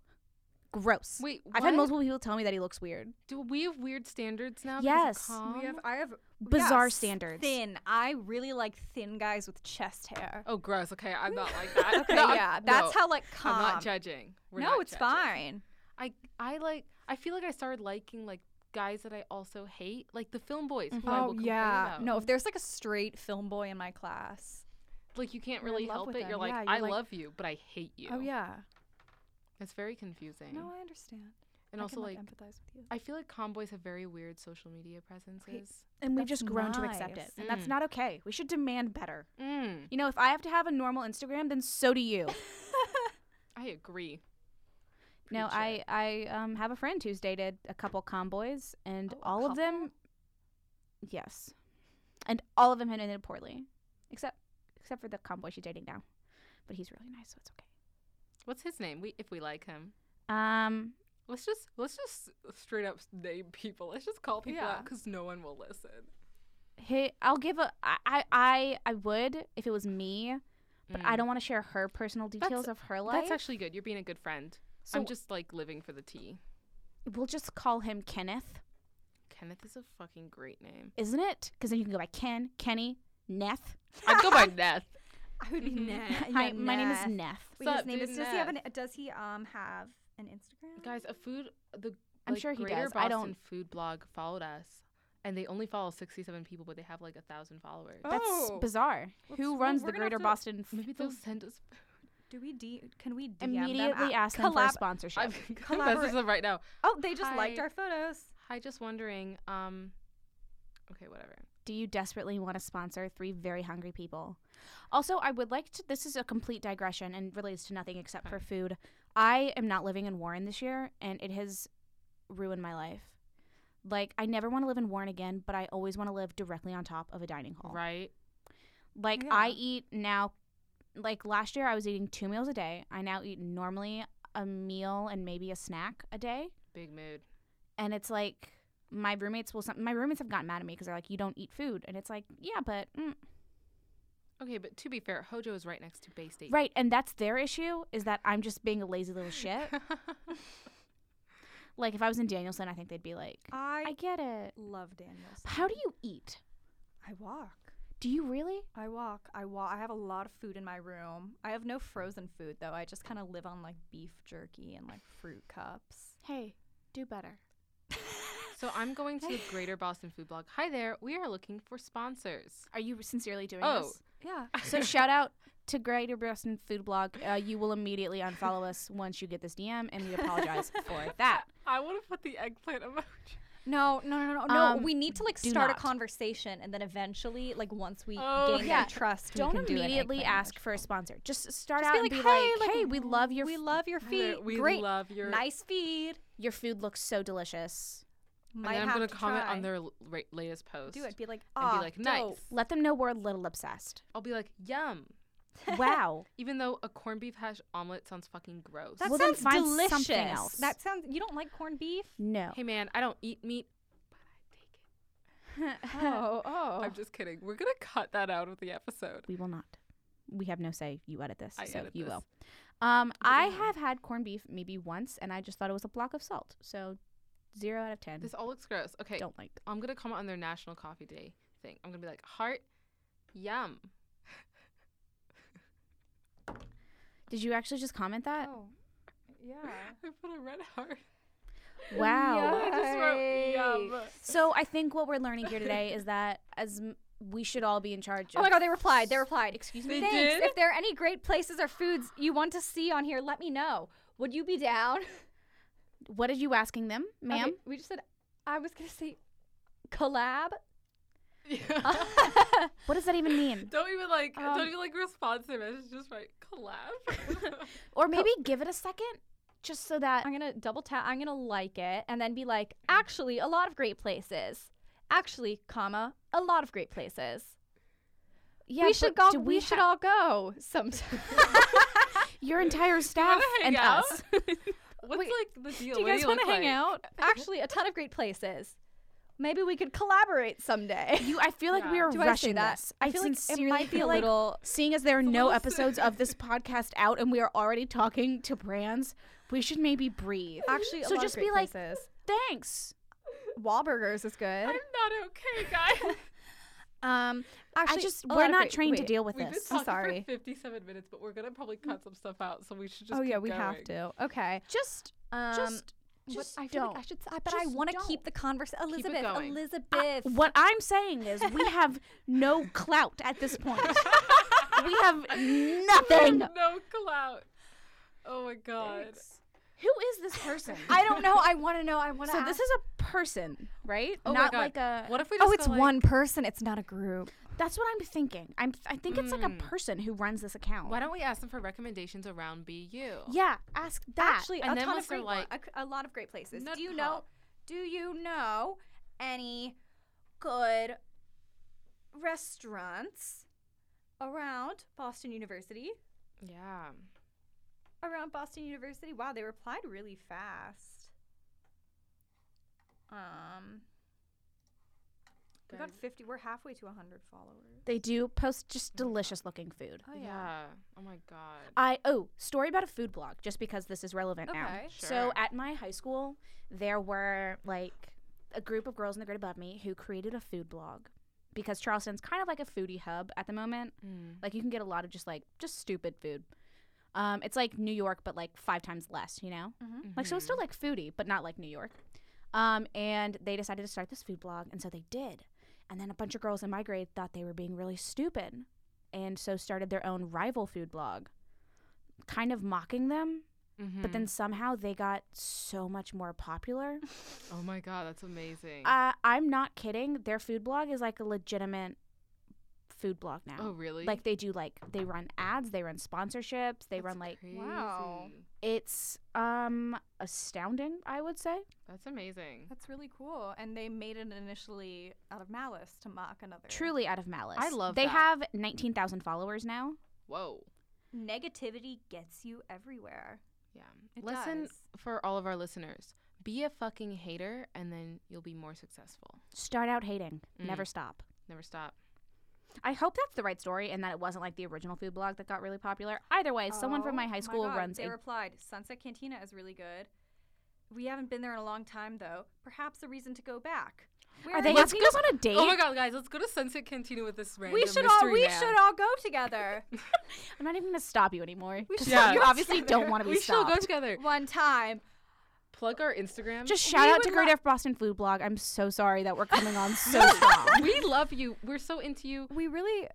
S2: gross.
S1: Wait,
S2: I've had
S1: what?
S2: multiple people tell me that he looks weird.
S1: Do we have weird standards now?
S2: Yes.
S1: because of
S3: We have.
S1: Calm?
S3: I have
S2: Bizarre
S3: yes,
S2: standards.
S3: Thin. I really like thin guys with chest hair.
S1: Oh, gross. Okay, I'm not like that.
S3: okay,
S1: No, I'm-
S3: yeah, that's
S1: no,
S3: how like calm.
S1: I'm not judging. We're
S3: no,
S1: not
S3: it's
S1: judging.
S3: fine.
S1: I I like. I feel like I started liking like guys that I also hate, like the film boys. who I will
S2: Oh,
S1: complain about.
S3: Mm-hmm. Oh, No, if there's like a straight film boy in my class.
S1: like you can't
S3: you're in
S1: really
S3: love
S1: help it.
S3: with
S1: You're
S3: them.
S1: like,
S3: Yeah, you're
S1: I
S3: like-
S1: love you, but I hate you.
S3: Oh yeah.
S1: it's very confusing.
S3: No, I understand.
S1: and
S3: I
S1: also
S3: can,
S1: like,
S3: empathize with you.
S1: I feel like comboys have very weird social media presences.
S2: And we've
S3: That's
S2: just grown to accept
S3: nice.
S2: it, and that's
S1: Mm.
S2: not okay. We should demand better.
S1: Mm,
S2: You know, if I have to have a normal Instagram, then so do you.
S1: I agree.
S2: no,
S1: Preach
S2: I I um, have a friend who's dated a couple comboys, and
S3: Oh, a
S2: all of them, yes, and all of them had ended poorly, except except for the comboy she's dating now, but he's really nice, so it's okay.
S1: What's his name? We if we like him.
S2: Um,
S1: Let's just let's just straight up name people. Let's just call people out
S3: Yeah.
S1: because no one will listen.
S2: hey, I'll give a I I I, I would if it was me, but I
S1: Mm.
S2: don't want to share her personal details of her life.
S1: That's actually good. You're being a good friend.
S2: so
S1: I'm just like living for the tea.
S2: we'll just call him Kenneth,
S1: Kenneth is a fucking great name.
S2: isn't it? Because then you can go by Ken, Kenny, Neth.
S1: I'd go by Neth.
S3: I would be Neth.
S2: Hi, my name is Neth.
S3: Wait, his
S1: Sup,
S3: name
S1: dude,
S3: is. Does he have an?
S1: Neth.
S3: Does he um have an Instagram?
S1: Guys, a food the
S2: I'm
S1: like,
S2: sure he
S1: Greater
S2: does.
S1: Boston
S2: I don't-
S1: Food blog followed us, and they only follow 67 people, but they have like a thousand followers.
S3: Oh.
S2: That's
S3: Oh.
S2: bizarre.
S3: Let's-
S2: Who
S3: well,
S2: runs
S3: we're
S2: the
S3: gonna
S2: Greater
S3: have to
S2: Boston? f-
S1: Maybe they'll send us.
S3: Do we d? Can we DM them?
S2: Immediately
S3: Ah,
S2: ask them for a
S3: collab-
S2: sponsorship.
S1: I'm gonna
S3: Collaborate.
S1: message them right now.
S3: Oh, they just liked
S1: Hi.
S3: our photos.
S1: Hi, just wondering. Um, okay, whatever.
S2: Do you desperately want to sponsor three very hungry people? Also, I would like to. This is a complete digression and relates to nothing except for food. I am not living in Warren this year, and it has ruined my life. Like, I never want to live in Warren again, but I always want to live directly on top of a dining hall.
S1: Right?
S2: Like
S3: Yeah.
S2: I eat now like last year I was eating two meals a day. I now eat normally a meal and maybe a snack a day.
S1: Big mood.
S2: And it's like my roommates will some my roommates have gotten mad at me cuz they're like you don't eat food and it's like yeah, but mm.
S1: Okay, but to be fair, Hojo is right next to Bay State.
S2: right and that's their issue is that I'm just being a lazy little shit. like if I was in Danielson, I think they'd be like I,
S3: I
S2: get it.
S3: love Daniels.
S2: How do you eat?
S3: I walk.
S2: Do you really?
S3: I walk. I walk. I have a lot of food in my room. I have no frozen food though. I just kind of live on like beef jerky and like fruit cups.
S2: Hey, do better.
S1: So I'm going to the Greater Boston Food Blog. Hi there. We are looking for sponsors.
S2: Are you sincerely doing
S1: Oh.
S2: this?
S3: Yeah.
S2: So shout out to Greater Boston Food Blog. Uh, you will immediately unfollow us once you get this DM, and we apologize for that.
S1: I want to put the eggplant emoji.
S3: No, no, no, no, no.
S2: Um,
S3: we need to like
S2: do
S3: start
S2: not.
S3: a conversation, and then eventually, like once we
S1: Oh,
S3: gain
S2: yeah.
S3: their trust, we
S2: Don't
S3: can do an
S2: immediately
S3: eggplant
S2: ask
S3: emoji.
S2: for a sponsor. Just start
S3: Just
S2: out
S3: be
S2: and
S3: like,
S2: be
S3: "Hey,
S2: like,
S3: like, "Mm-hmm."
S2: "Hey, we love your
S3: We
S2: f-
S3: love your feed.
S1: We
S3: Great.
S1: love your.
S3: nice feed.
S2: your food looks so delicious."
S1: And then
S3: Might
S1: I'm
S3: have
S1: gonna
S3: to
S1: comment
S3: try.
S1: on their l- ra- latest post.
S3: do it. Be like,
S1: and
S3: ah,
S1: be like, nice.
S3: dope."
S2: Let them know we're a little obsessed.
S1: I'll be like, yum.
S2: Wow.
S1: Even though a corned beef hash omelet sounds fucking gross.
S3: That
S2: Well, then
S3: sounds
S2: find something
S3: delicious.
S2: else.
S3: That sounds. You don't like corned beef?
S2: No.
S1: hey man, I don't eat meat, but I take it.
S3: Oh, oh.
S1: I'm just kidding. We're gonna cut that out of the episode.
S2: We will not. We have no say. You edit this,
S1: I
S2: so
S1: edit
S2: you
S1: this.
S2: will. Um, I have had corned beef maybe once, and I just thought it was a block of salt. So, zero out of 10
S1: This all looks gross. Okay,
S2: Don't like.
S1: I'm gonna comment on their National Coffee Day thing. I'm gonna be like, heart, yum.
S2: Did you actually just comment that?
S3: Oh, yeah.
S1: I put a red heart.
S2: Wow.
S1: I just wrote yum.
S2: So I think what we're learning here today is that as m- we should all be in charge.
S3: Oh
S2: of
S3: my god, they replied. They replied. Excuse
S1: me? They
S3: Thanks.
S1: did?
S3: If there are any great places or foods you want to see on here, let me know. Would you be down?
S2: What are you asking them, ma'am?
S3: Okay, we just said I was gonna say collab.
S1: Yeah.
S2: What does that even mean?
S1: don't even like
S3: Um,
S1: don't even like respond to the message. Just write collab.
S2: Or maybe give it a second, just so that
S3: I'm gonna double tap. I'm gonna like it and then be like, actually, a lot of great places. Actually, comma, a lot of great places.
S2: yeah,
S3: we should
S2: but
S3: go.
S2: do
S3: we should all go sometime.
S2: Your entire staff
S1: hang
S2: and
S1: out?
S2: us.
S1: What's
S3: Wait,
S1: like the deal?
S3: do you
S1: What
S3: guys
S1: look
S3: want to hang
S1: like?
S3: out? Actually, a ton of great places. Maybe we could collaborate someday.
S2: You, I feel like we
S1: Yeah.
S2: are
S3: Do I say
S2: rushing
S3: that?
S2: this.
S3: I feel like it
S2: sincerely
S3: might be a
S2: feel like
S3: little.
S2: Seeing as there are no
S1: little
S2: episodes of this podcast out and we are already talking to brands, we should maybe breathe.
S3: Actually, a
S2: so
S3: lot
S2: just
S3: of great
S2: be like,
S3: places.
S2: Thanks.
S3: Wahlburgers is good.
S1: I'm not okay, guys.
S3: Um, actually,
S2: I just
S3: a lot
S2: we're
S3: of
S2: not
S3: great-
S2: trained to
S3: wait.
S2: deal with
S1: We've been
S2: this.
S1: talking
S3: sorry.
S1: for 57 minutes, but we're gonna probably cut some stuff out, so we should just.
S3: Oh yeah,
S1: keep
S3: we have
S1: going.
S3: to. Okay.
S2: Just,
S3: Um,
S2: just,
S3: what-
S2: just
S3: I feel
S2: don't.
S3: like I should. s- I, but I
S2: Just
S3: want to
S2: don't.
S3: keep the conversation.
S1: it
S3: Elizabeth,
S1: going.
S3: Elizabeth.
S2: what I'm saying is we have no clout at this point. we have nothing.
S1: No clout. Oh my god.
S2: Who is this person?
S3: I don't know. I want to know. I want to.
S2: so this is a person, right?
S1: Oh
S2: Not
S1: my god.
S2: like a.
S1: What if we? Just
S3: Oh, it's
S1: go, like,
S3: one person. It's not a group.
S2: That's what I'm thinking. I'm. I think it's like a
S3: Hmm.
S1: Mm.
S2: person who runs this account.
S1: Why don't we ask them for recommendations around BU?
S2: Yeah, ask that.
S3: Actually,
S1: And
S3: a
S1: then
S3: ton
S1: once
S3: of
S1: they're
S3: great. one-
S1: like-
S3: a c- a, lot of great places.
S1: Nut
S3: do you know?
S1: pop.
S3: Do you know any good restaurants around Boston University?
S1: Yeah.
S3: around Boston University. Wow, they replied really fast. Um, we got
S1: Guys.
S3: 50. We're halfway to 100 followers.
S2: They do post just delicious looking food.
S3: Oh,
S1: yeah.
S3: yeah.
S1: Oh my god.
S2: I oh, story about a food blog just because this is relevant now.
S3: Okay.
S2: So
S1: Sure.
S2: at my high school, there were like a group of girls in the grade above me who created a food blog because Charleston's kind of like a foodie hub at the moment.
S1: Mm.
S2: Like you can get a lot of just like just stupid food. Um, it's like New York, but like five times less, you know? Like, so it's still like foodie, but not like New York. Um, and they decided to start this food blog, and so they did. And then a bunch of girls in my grade thought they were being really stupid, and so started their own rival food blog, kind of mocking them.
S1: Mm-hmm.
S2: But
S1: Mm.
S2: then somehow they got so much more popular.
S1: Oh my god, that's amazing.
S2: uh, I'm not kidding. Their food blog is like a legitimate food blog now.
S1: oh really?
S2: Like they do like they run ads, they run sponsorships, they run like
S3: Wow.
S1: crazy.
S2: it's um astounding, I would say.
S1: That's amazing.
S3: That's really cool. And they made it initially out of malice to mock another.
S2: Truly out of malice.
S1: I love
S2: They
S1: that.
S2: have 19,000 followers now.
S1: Whoa.
S3: Negativity gets you everywhere.
S1: Yeah.
S3: It
S1: Listen
S3: does.
S1: for all of our listeners. Be a fucking hater, and then you'll be more successful.
S2: Start out hating,
S1: Mm.
S2: never stop.
S1: Never stop.
S2: I hope that's the right story and that it wasn't like the original food blog that got
S1: Oh
S2: really popular. Either way, someone from my high school runs
S3: Oh They
S2: a
S3: replied, Sunset Cantina is really good. We haven't been there in a long time, though. Perhaps a reason to go back. Where
S2: Are they
S1: Let's
S2: asking
S1: go-
S2: us on a date?
S1: Oh my god, guys, let's go to Sunset Cantina with this random
S3: We should all
S1: mystery
S3: we
S1: man.
S3: should all go together
S2: I'm not even gonna stop you anymore.
S3: We
S2: Just
S1: should
S2: like, you
S1: go
S2: obviously don't
S3: together.
S2: want to be
S1: we shall go
S2: stopped.
S1: together.
S3: one time.
S1: Plug our Instagram.
S2: Just shout out
S3: would
S2: to Great
S3: lo-
S2: F Boston Food Blog. I'm so sorry that we're coming on so strong.
S1: we love you. We're so into you.
S3: We really.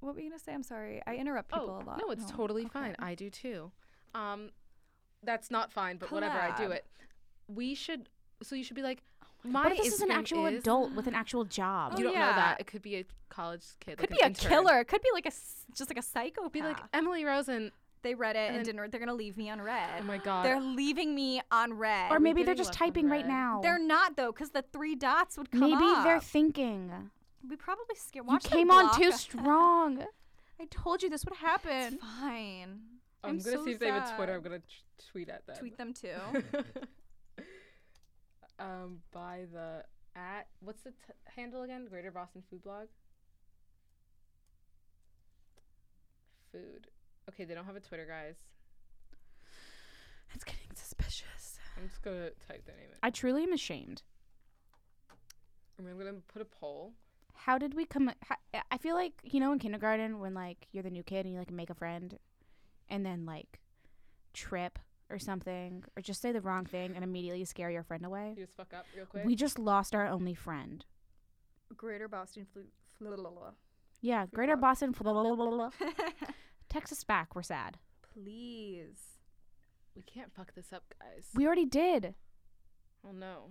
S3: What were you gonna say? I'm sorry. I interrupt people
S1: Oh,
S3: a lot.
S1: no, it's totally fine. I do too. Um, that's not fine, but whatever. I do
S3: Collab. Oh
S1: it. We should. So you should be like, my.
S2: What if this is an
S1: Instagram
S2: actual
S1: is-
S2: adult with an actual job?
S1: You don't know
S3: yeah.
S1: that. It could be a college kid.
S3: Could
S1: like
S3: be a
S1: an intern.
S3: killer. Could be like a s- just like a psychopath.
S1: Be like Emily Rosen.
S3: they read it and,
S1: then-
S3: didn't. re- They're gonna leave me on red.
S1: Oh my god.
S3: They're leaving me on red.
S2: or
S1: we
S2: maybe they're
S1: getting
S2: just
S1: left on
S2: typing right
S1: red?
S2: now.
S3: They're not though, because the three dots would come
S2: maybe they're
S3: up.
S2: thinking.
S3: we probably scared.
S2: You
S3: Watch them
S2: came on too
S3: block us.
S2: strong. I told you this would
S3: It's
S2: happen.
S3: fine.
S1: I'm,
S3: I'm
S1: gonna
S3: so
S1: see if they have a Twitter.
S3: sad.
S1: I'm gonna t- tweet at them.
S3: Tweet them too.
S1: um, by the at what's the t- handle again? Greater Boston Food Blog. Food. Okay, they don't have a Twitter, guys.
S2: It's getting suspicious.
S1: I'm just gonna type their name in.
S2: I truly am ashamed.
S1: And I'm gonna put a poll.
S2: How did we come? How, I feel like you know in kindergarten when like you're the new kid and you like make a friend, and then like trip or something or just say the wrong thing and immediately scare your friend away.
S1: You just fuck up real quick.
S2: We just lost our only friend.
S3: Greater Boston flu. flu-
S2: Yeah, Greater
S3: blog.
S2: Boston. Blah, blah, blah, blah, blah. Text us back. We're sad.
S3: Please.
S1: We can't fuck this up, guys.
S2: We already did.
S1: oh no.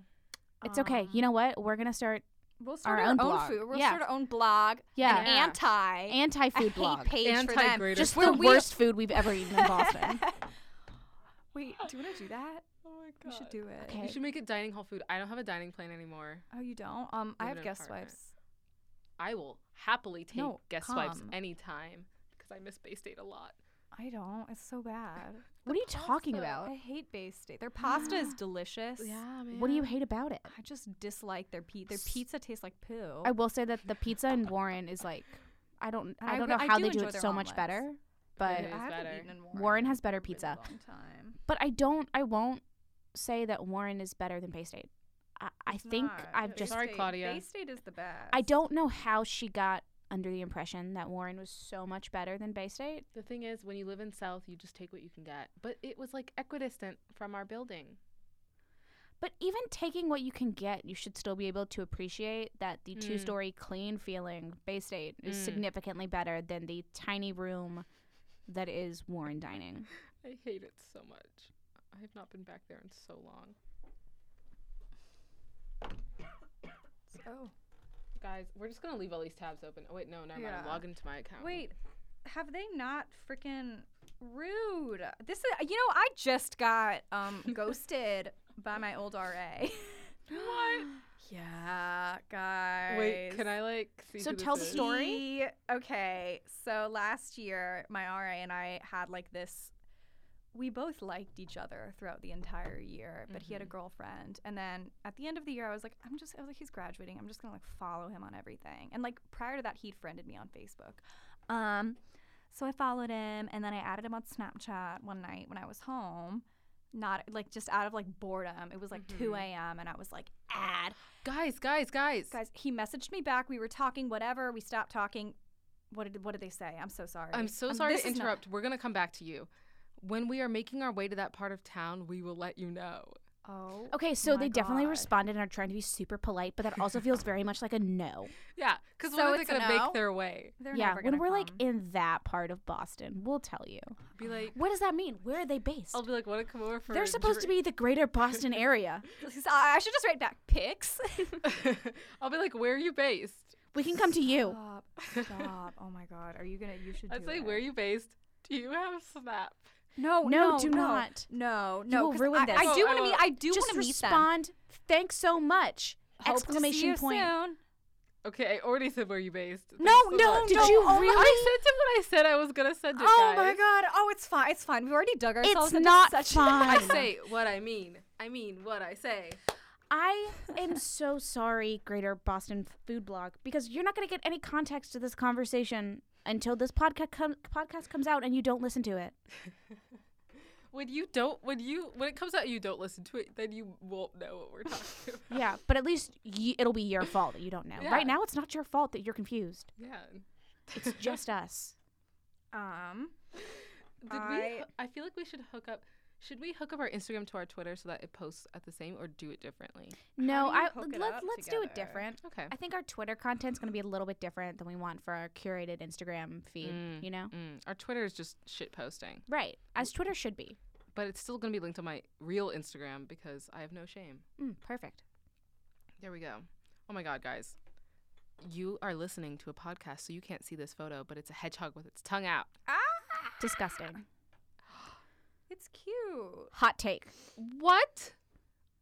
S2: It's okay. You know what? We're gonna start
S3: We'll start
S2: our
S3: our,
S2: own
S3: own,
S2: blog.
S3: food. We'll
S2: Yeah.
S3: start our own blog.
S2: Yeah.
S3: An
S1: Yeah.
S3: anti.
S2: anti
S3: I
S2: food
S3: hate
S2: blog.
S3: page for them.
S1: Anti-greater.
S2: Just
S3: Where
S2: the
S3: we-
S2: worst food we've ever eaten in Boston.
S3: Wait, do you want to do that?
S1: Oh my
S3: We should do it.
S2: Uh, Okay.
S1: You should make it dining hall food. I don't have a dining plan anymore.
S3: Oh, you don't? Um, I
S1: Live
S3: have
S1: in
S3: guest
S1: apartment.
S3: swipes.
S1: I will happily take
S3: No,
S1: guest swipes
S3: come.
S1: anytime because I miss Bay State a lot.
S3: I don't. It's so bad.
S2: What are you talking
S1: pasta.
S2: about?
S3: I hate Bay State. Their pasta is delicious.
S1: man.
S2: What do you hate about it?
S3: I just dislike their pizza. Their
S2: S-
S3: pizza tastes like poo.
S2: I will say that the pizza in Warren is like I don't I
S3: I
S2: don't
S3: re-
S2: know
S3: I
S2: how
S3: do
S2: they do
S3: enjoy
S2: it
S3: their
S2: so much
S3: omelets.
S2: better,
S1: It
S2: but
S1: is
S3: I haven't
S1: better.
S3: eaten in Warren.
S2: Warren has
S3: in
S2: better
S3: a
S2: pizza.
S3: Long time.
S2: But I don't I won't say that Warren is better than Bay State. I, I think
S3: Not.
S2: I've
S1: It's
S2: just
S1: Sorry, Claudia.
S3: Bay State is the best.
S2: I don't know how she got under the impression that Warren was so much better than Bay State.
S1: The thing is, when you live in South, you just take what you can get. But it was like equidistant from our building.
S2: But even taking what you can get, you should still be able to appreciate that the
S1: Mm.
S2: two story clean feeling Bay State is
S1: Mm.
S2: significantly better than the tiny room that is Warren Dining.
S1: I hate it so much. I have not been back there in so long.
S3: Oh
S1: Guys, we're just gonna leave all these tabs open. Oh wait, no, never mind.
S3: Yeah.
S1: Log into my account.
S3: wait, have they not freaking rude? This is you know I just got um ghosted by my old RA.
S1: What?
S3: yeah, guys.
S1: Wait, can I like see?
S2: So
S1: who this
S2: tell the
S1: is?
S2: story.
S3: He- okay, so last year, my RA and I had like this. We both liked each other throughout the entire year, but he
S2: Mm-hmm.
S3: had a girlfriend. And then at the end of the year, I was like, I'm just, I was like, he's graduating. I'm just gonna like follow him on everything. And like prior to that, he'd friended me on Facebook. Um, so I followed him, and then I added him on Snapchat one night when I was home. Not like just out of like boredom. It was like 2
S2: Mm-hmm.
S1: Mhm.
S3: a.m. and I was like, add
S1: Guys, guys, guys.
S3: guys he messaged me back we were talking whatever we stopped talking what did what did they say i'm so sorry
S1: I'm so
S3: Um,
S1: sorry
S3: this
S1: to
S3: is not-
S1: interrupt. We're gonna come back to you. When we are making our way to that part of town, we will let you know.
S3: oh
S2: Okay, so
S3: my
S2: they definitely
S3: God.
S2: responded and are trying to be super polite, but that also feels very much like a no.
S1: Yeah, because
S3: So
S1: when are they
S3: it's a
S1: gonna
S3: no?
S1: make their way?
S3: They're
S2: yeah,
S3: never
S2: when
S3: gonna
S2: we're like
S3: come.
S2: in that part of Boston, we'll tell you.
S1: Be like,
S2: What does that mean? Where are they based?
S1: I'll be like, want to come over for?
S2: They're
S1: a
S2: supposed to
S1: drink?"
S2: be the greater Boston area.
S3: So i should just write back pics
S1: I'll be like, where are you based?
S2: We can come to you.
S3: stop stop oh my god are you gonna you should
S1: I'd
S3: do
S1: say,
S3: it.
S1: where are you based? Do you have Snap?
S3: no
S2: No,
S3: no
S2: do
S3: no,
S2: not.
S3: no
S2: You
S3: no
S2: will
S3: 'cause
S2: ruin
S3: I,
S2: this.
S3: i
S1: Oh,
S3: do
S1: I
S3: want to meet
S1: will.
S3: i do want
S2: Just
S3: to meet them
S2: respond. Thanks so much!
S3: Hope to see
S2: exclamation
S3: you
S2: point.
S3: soon.
S1: Okay, I already said where you based.
S2: No,
S1: Thanks so
S2: no,
S1: much.
S2: did
S3: No,
S2: you
S3: oh my-
S2: really?
S1: I sent him what I said I was gonna send it.
S3: oh my
S1: guys.
S3: god oh it's fine it's fine we've already dug ourselves into
S2: not
S3: such
S2: fine.
S1: I say what I mean. I mean what I say.
S2: I am so sorry, Greater Boston Food Blog, because you're not going to get any context to this conversation until this podcast com- podcast comes out and you don't listen to it.
S1: When you don't, when you when it comes out, you don't listen to it, then you won't know what we're talking about.
S2: Yeah, but at least y- it'll be your fault that you don't know.
S1: Yeah.
S2: Right now, it's not your fault that you're confused.
S1: Yeah.
S2: It's just us.
S3: Um,
S1: Did we?
S3: I-
S1: hoo- I feel like we should hook up. Should we hook up our Instagram to our Twitter so that it posts at the same, or do it differently?
S2: No,
S3: do you
S2: I
S3: hook it
S2: let's
S3: up
S2: let's do it
S3: together?
S2: different.
S1: Okay.
S2: I think our Twitter content's going to be a little bit different than we want for our curated Instagram feed.
S1: Mm.
S2: You know,
S1: Mm, our Twitter is just shit posting,
S2: right? As Twitter should be.
S1: but it's still gonna be linked to my real Instagram because I have no shame.
S2: Mm, perfect.
S1: There we go. Oh my God, guys. You are listening to a podcast, so you can't see this photo, but it's a hedgehog with its tongue out.
S2: Disgusting.
S3: ah, it's cute.
S2: Hot take.
S1: What?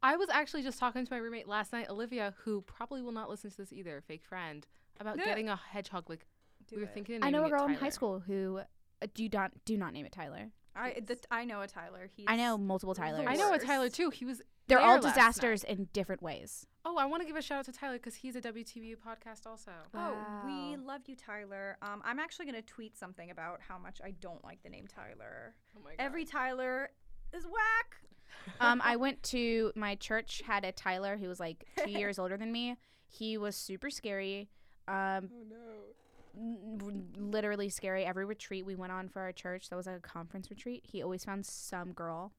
S1: I was actually just talking to my roommate last night, Olivia, who probably will not listen to this either, fake friend, about
S3: No.
S1: getting a hedgehog. Like
S3: Do
S1: we were
S3: it.
S1: thinking. Of
S2: I know
S1: naming
S2: a
S1: it
S2: girl in high
S1: Tyler.
S2: school who uh, do not do not name it Tyler.
S3: I the, I know a Tyler. He's
S2: I know multiple Tylers.
S1: I know a
S3: worst.
S1: Tyler too. He was.
S2: They're
S1: there
S2: all
S1: last night.
S2: disasters in different ways.
S1: Oh, I want to give a shout out to Tyler because he's a WTBU podcast also.
S3: Oh, we
S2: Wow.
S3: love you, Tyler. Um, I'm actually gonna tweet something about how much I don't like the name Tyler.
S1: Oh my god.
S3: Every Tyler is whack.
S2: um, I went to my church had a Tyler who was like two years older than me. He was super scary. Um,
S1: Oh no.
S2: n- n- literally scary. Every retreat we went on for our church that was like a conference retreat, he always found some girl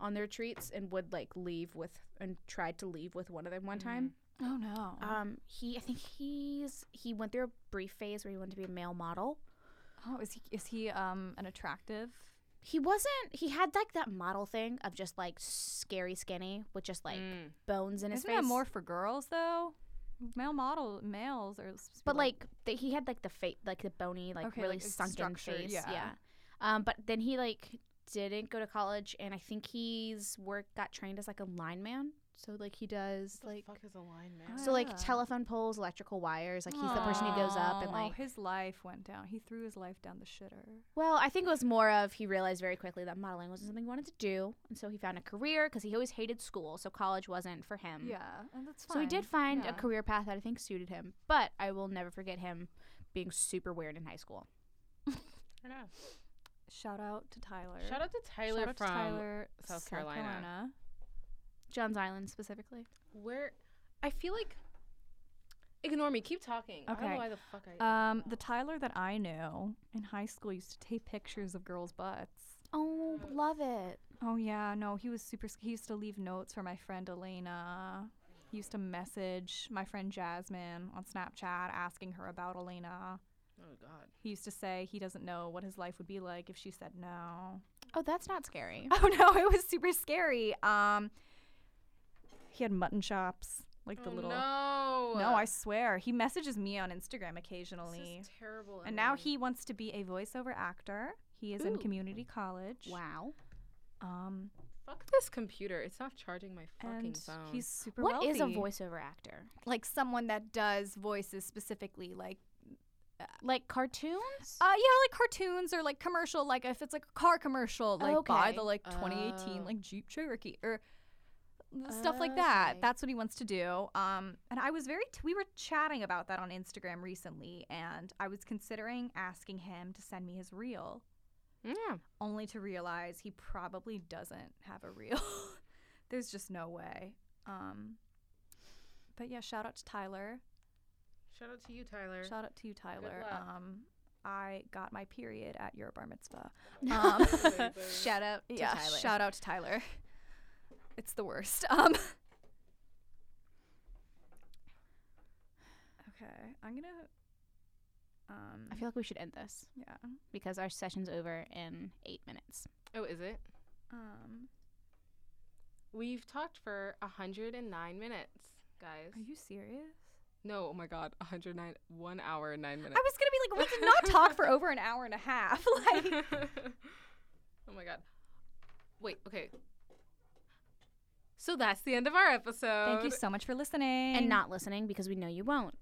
S2: on their retreats and would like leave with and tried to leave with one of them one time.
S3: Oh no.
S1: Mm-hmm.
S2: Um, he I think he's he went through a brief phase where he wanted to be a male model.
S3: oh, is he is he um an attractive?
S2: He wasn't. He had like that model thing of just like scary skinny with just like
S1: Mm.
S2: bones in his
S3: Isn't
S2: face.
S3: that more for girls though? Male model males are. supposed to be
S2: But like th- he had like the face, like the bony, like
S3: Okay,
S2: really
S3: like, it's
S2: sunken
S3: structured,
S2: face. Yeah.
S3: yeah.
S2: Um, but then he like didn't go to college, and I think he's work got trained as like a lineman. So like he does like
S1: fuck is a line
S3: man?
S2: so like
S3: Ah.
S2: telephone poles, electrical wires. Like he's the person who goes up and
S3: Aw,
S2: like.
S3: Oh, his life went down. He threw his life down the shitter.
S2: Well, I think it was more of he realized very quickly that modeling wasn't something he wanted to do, and so he found a career because he always hated school, so college wasn't for him.
S3: Yeah, and that's fine.
S2: Mm. So he did find
S3: Yeah.
S2: a career path that I think suited him, but I will never forget him being super weird in high school.
S3: Shout out to Tyler.
S1: Shout out to Tyler
S3: Shout out
S1: from
S3: to Tyler,
S1: South Carolina.
S2: John's Island specifically.
S1: where I feel like ignore me. Keep talking. I don't know
S3: Okay.
S1: why the fuck I
S3: Um, the Tyler that I knew in high school used to take pictures of girls' butts.
S2: Oh,
S1: Mm.
S2: love it.
S3: Oh yeah, no, he was super. sc- He used to leave notes for my friend Elena. He used to message my friend Jasmine on Snapchat asking her about Elena.
S1: Oh god.
S3: He used to say he doesn't know what his life would be like if she said no.
S2: Oh, that's not scary.
S3: Oh no, it was super scary. Um, he had mutton chops, like the little.
S1: Oh, No.
S3: No, I swear. He messages me on Instagram
S1: This
S3: occasionally.
S1: is terrible.
S3: And now
S1: Emily.
S3: he wants to be a voiceover actor. He is
S1: Ooh.
S3: in community college.
S2: Wow.
S3: Um,
S1: fuck this computer. It's not charging my fucking
S3: and
S1: phone.
S3: he's super
S2: What is a
S3: wealthy.
S2: voiceover actor?
S3: Like someone that does voices specifically, like
S2: Like cartoons?
S3: uh, yeah, like cartoons or like commercial. Like if it's like a car commercial, like buy
S2: Okay.
S3: the like 2018
S1: Oh.
S3: like Jeep Cherokee or stuff like that.
S2: Okay.
S3: That's what he wants to do. Um, and I was very, t- we were chatting about that on Instagram recently, and I was considering asking him to send me his reel.
S1: yeah.
S3: only to realize he probably doesn't have a reel. There's just no way. Um, but yeah, shout out to Tyler.
S1: Shout out to you, Tyler.
S3: Shout out to you, Tyler.
S1: luck.
S3: Um, I got my period at your bar mitzvah. Um,
S2: Shout out to
S3: yeah,
S2: Tyler.
S3: shout out to Tyler. It's the worst. Um, okay, I'm gonna. Um,
S2: I feel like we should end this
S3: yeah.
S2: because our session's over in eight minutes.
S1: oh, is it?
S3: Um,
S1: We've talked for 109 minutes, guys.
S3: are you serious?
S1: No, oh my god, 109 1 hour and 9
S3: I
S1: minutes.
S3: was gonna be like, we did not talk for over an hour and a half.
S1: oh
S3: Like,
S1: my god. Wait, okay. So that's the end of our episode.
S3: Thank you so much for listening.
S2: And not listening because we know you won't.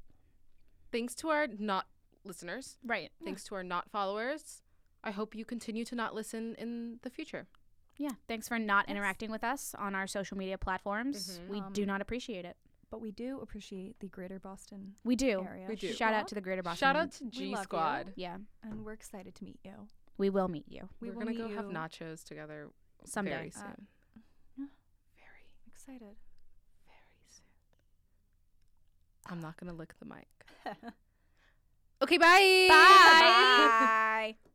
S1: Thanks to our not listeners.
S2: Right.
S1: Thanks to our not followers. I hope you continue to not listen in the future.
S2: Yeah. Thanks for not interacting with us on our social media platforms.
S1: Mhm.
S2: We do not appreciate it.
S3: But we do appreciate the Greater Boston
S2: We do.
S3: area.
S1: We do.
S2: Shout out to the Greater Boston.
S1: Shout out to
S3: We
S1: G
S3: love you.
S1: Squad.
S2: Yeah.
S3: and we're excited to meet you.
S2: We will meet you.
S1: We
S3: We
S1: are
S3: will
S1: gonna
S3: meet
S1: go have
S3: you.
S1: nachos together
S2: Someday.
S1: Very
S2: Uh,
S1: soon.
S2: no.
S1: Very,
S3: Excited.
S1: very soon. I'm not going to lick the mic. okay, bye.
S3: Bye.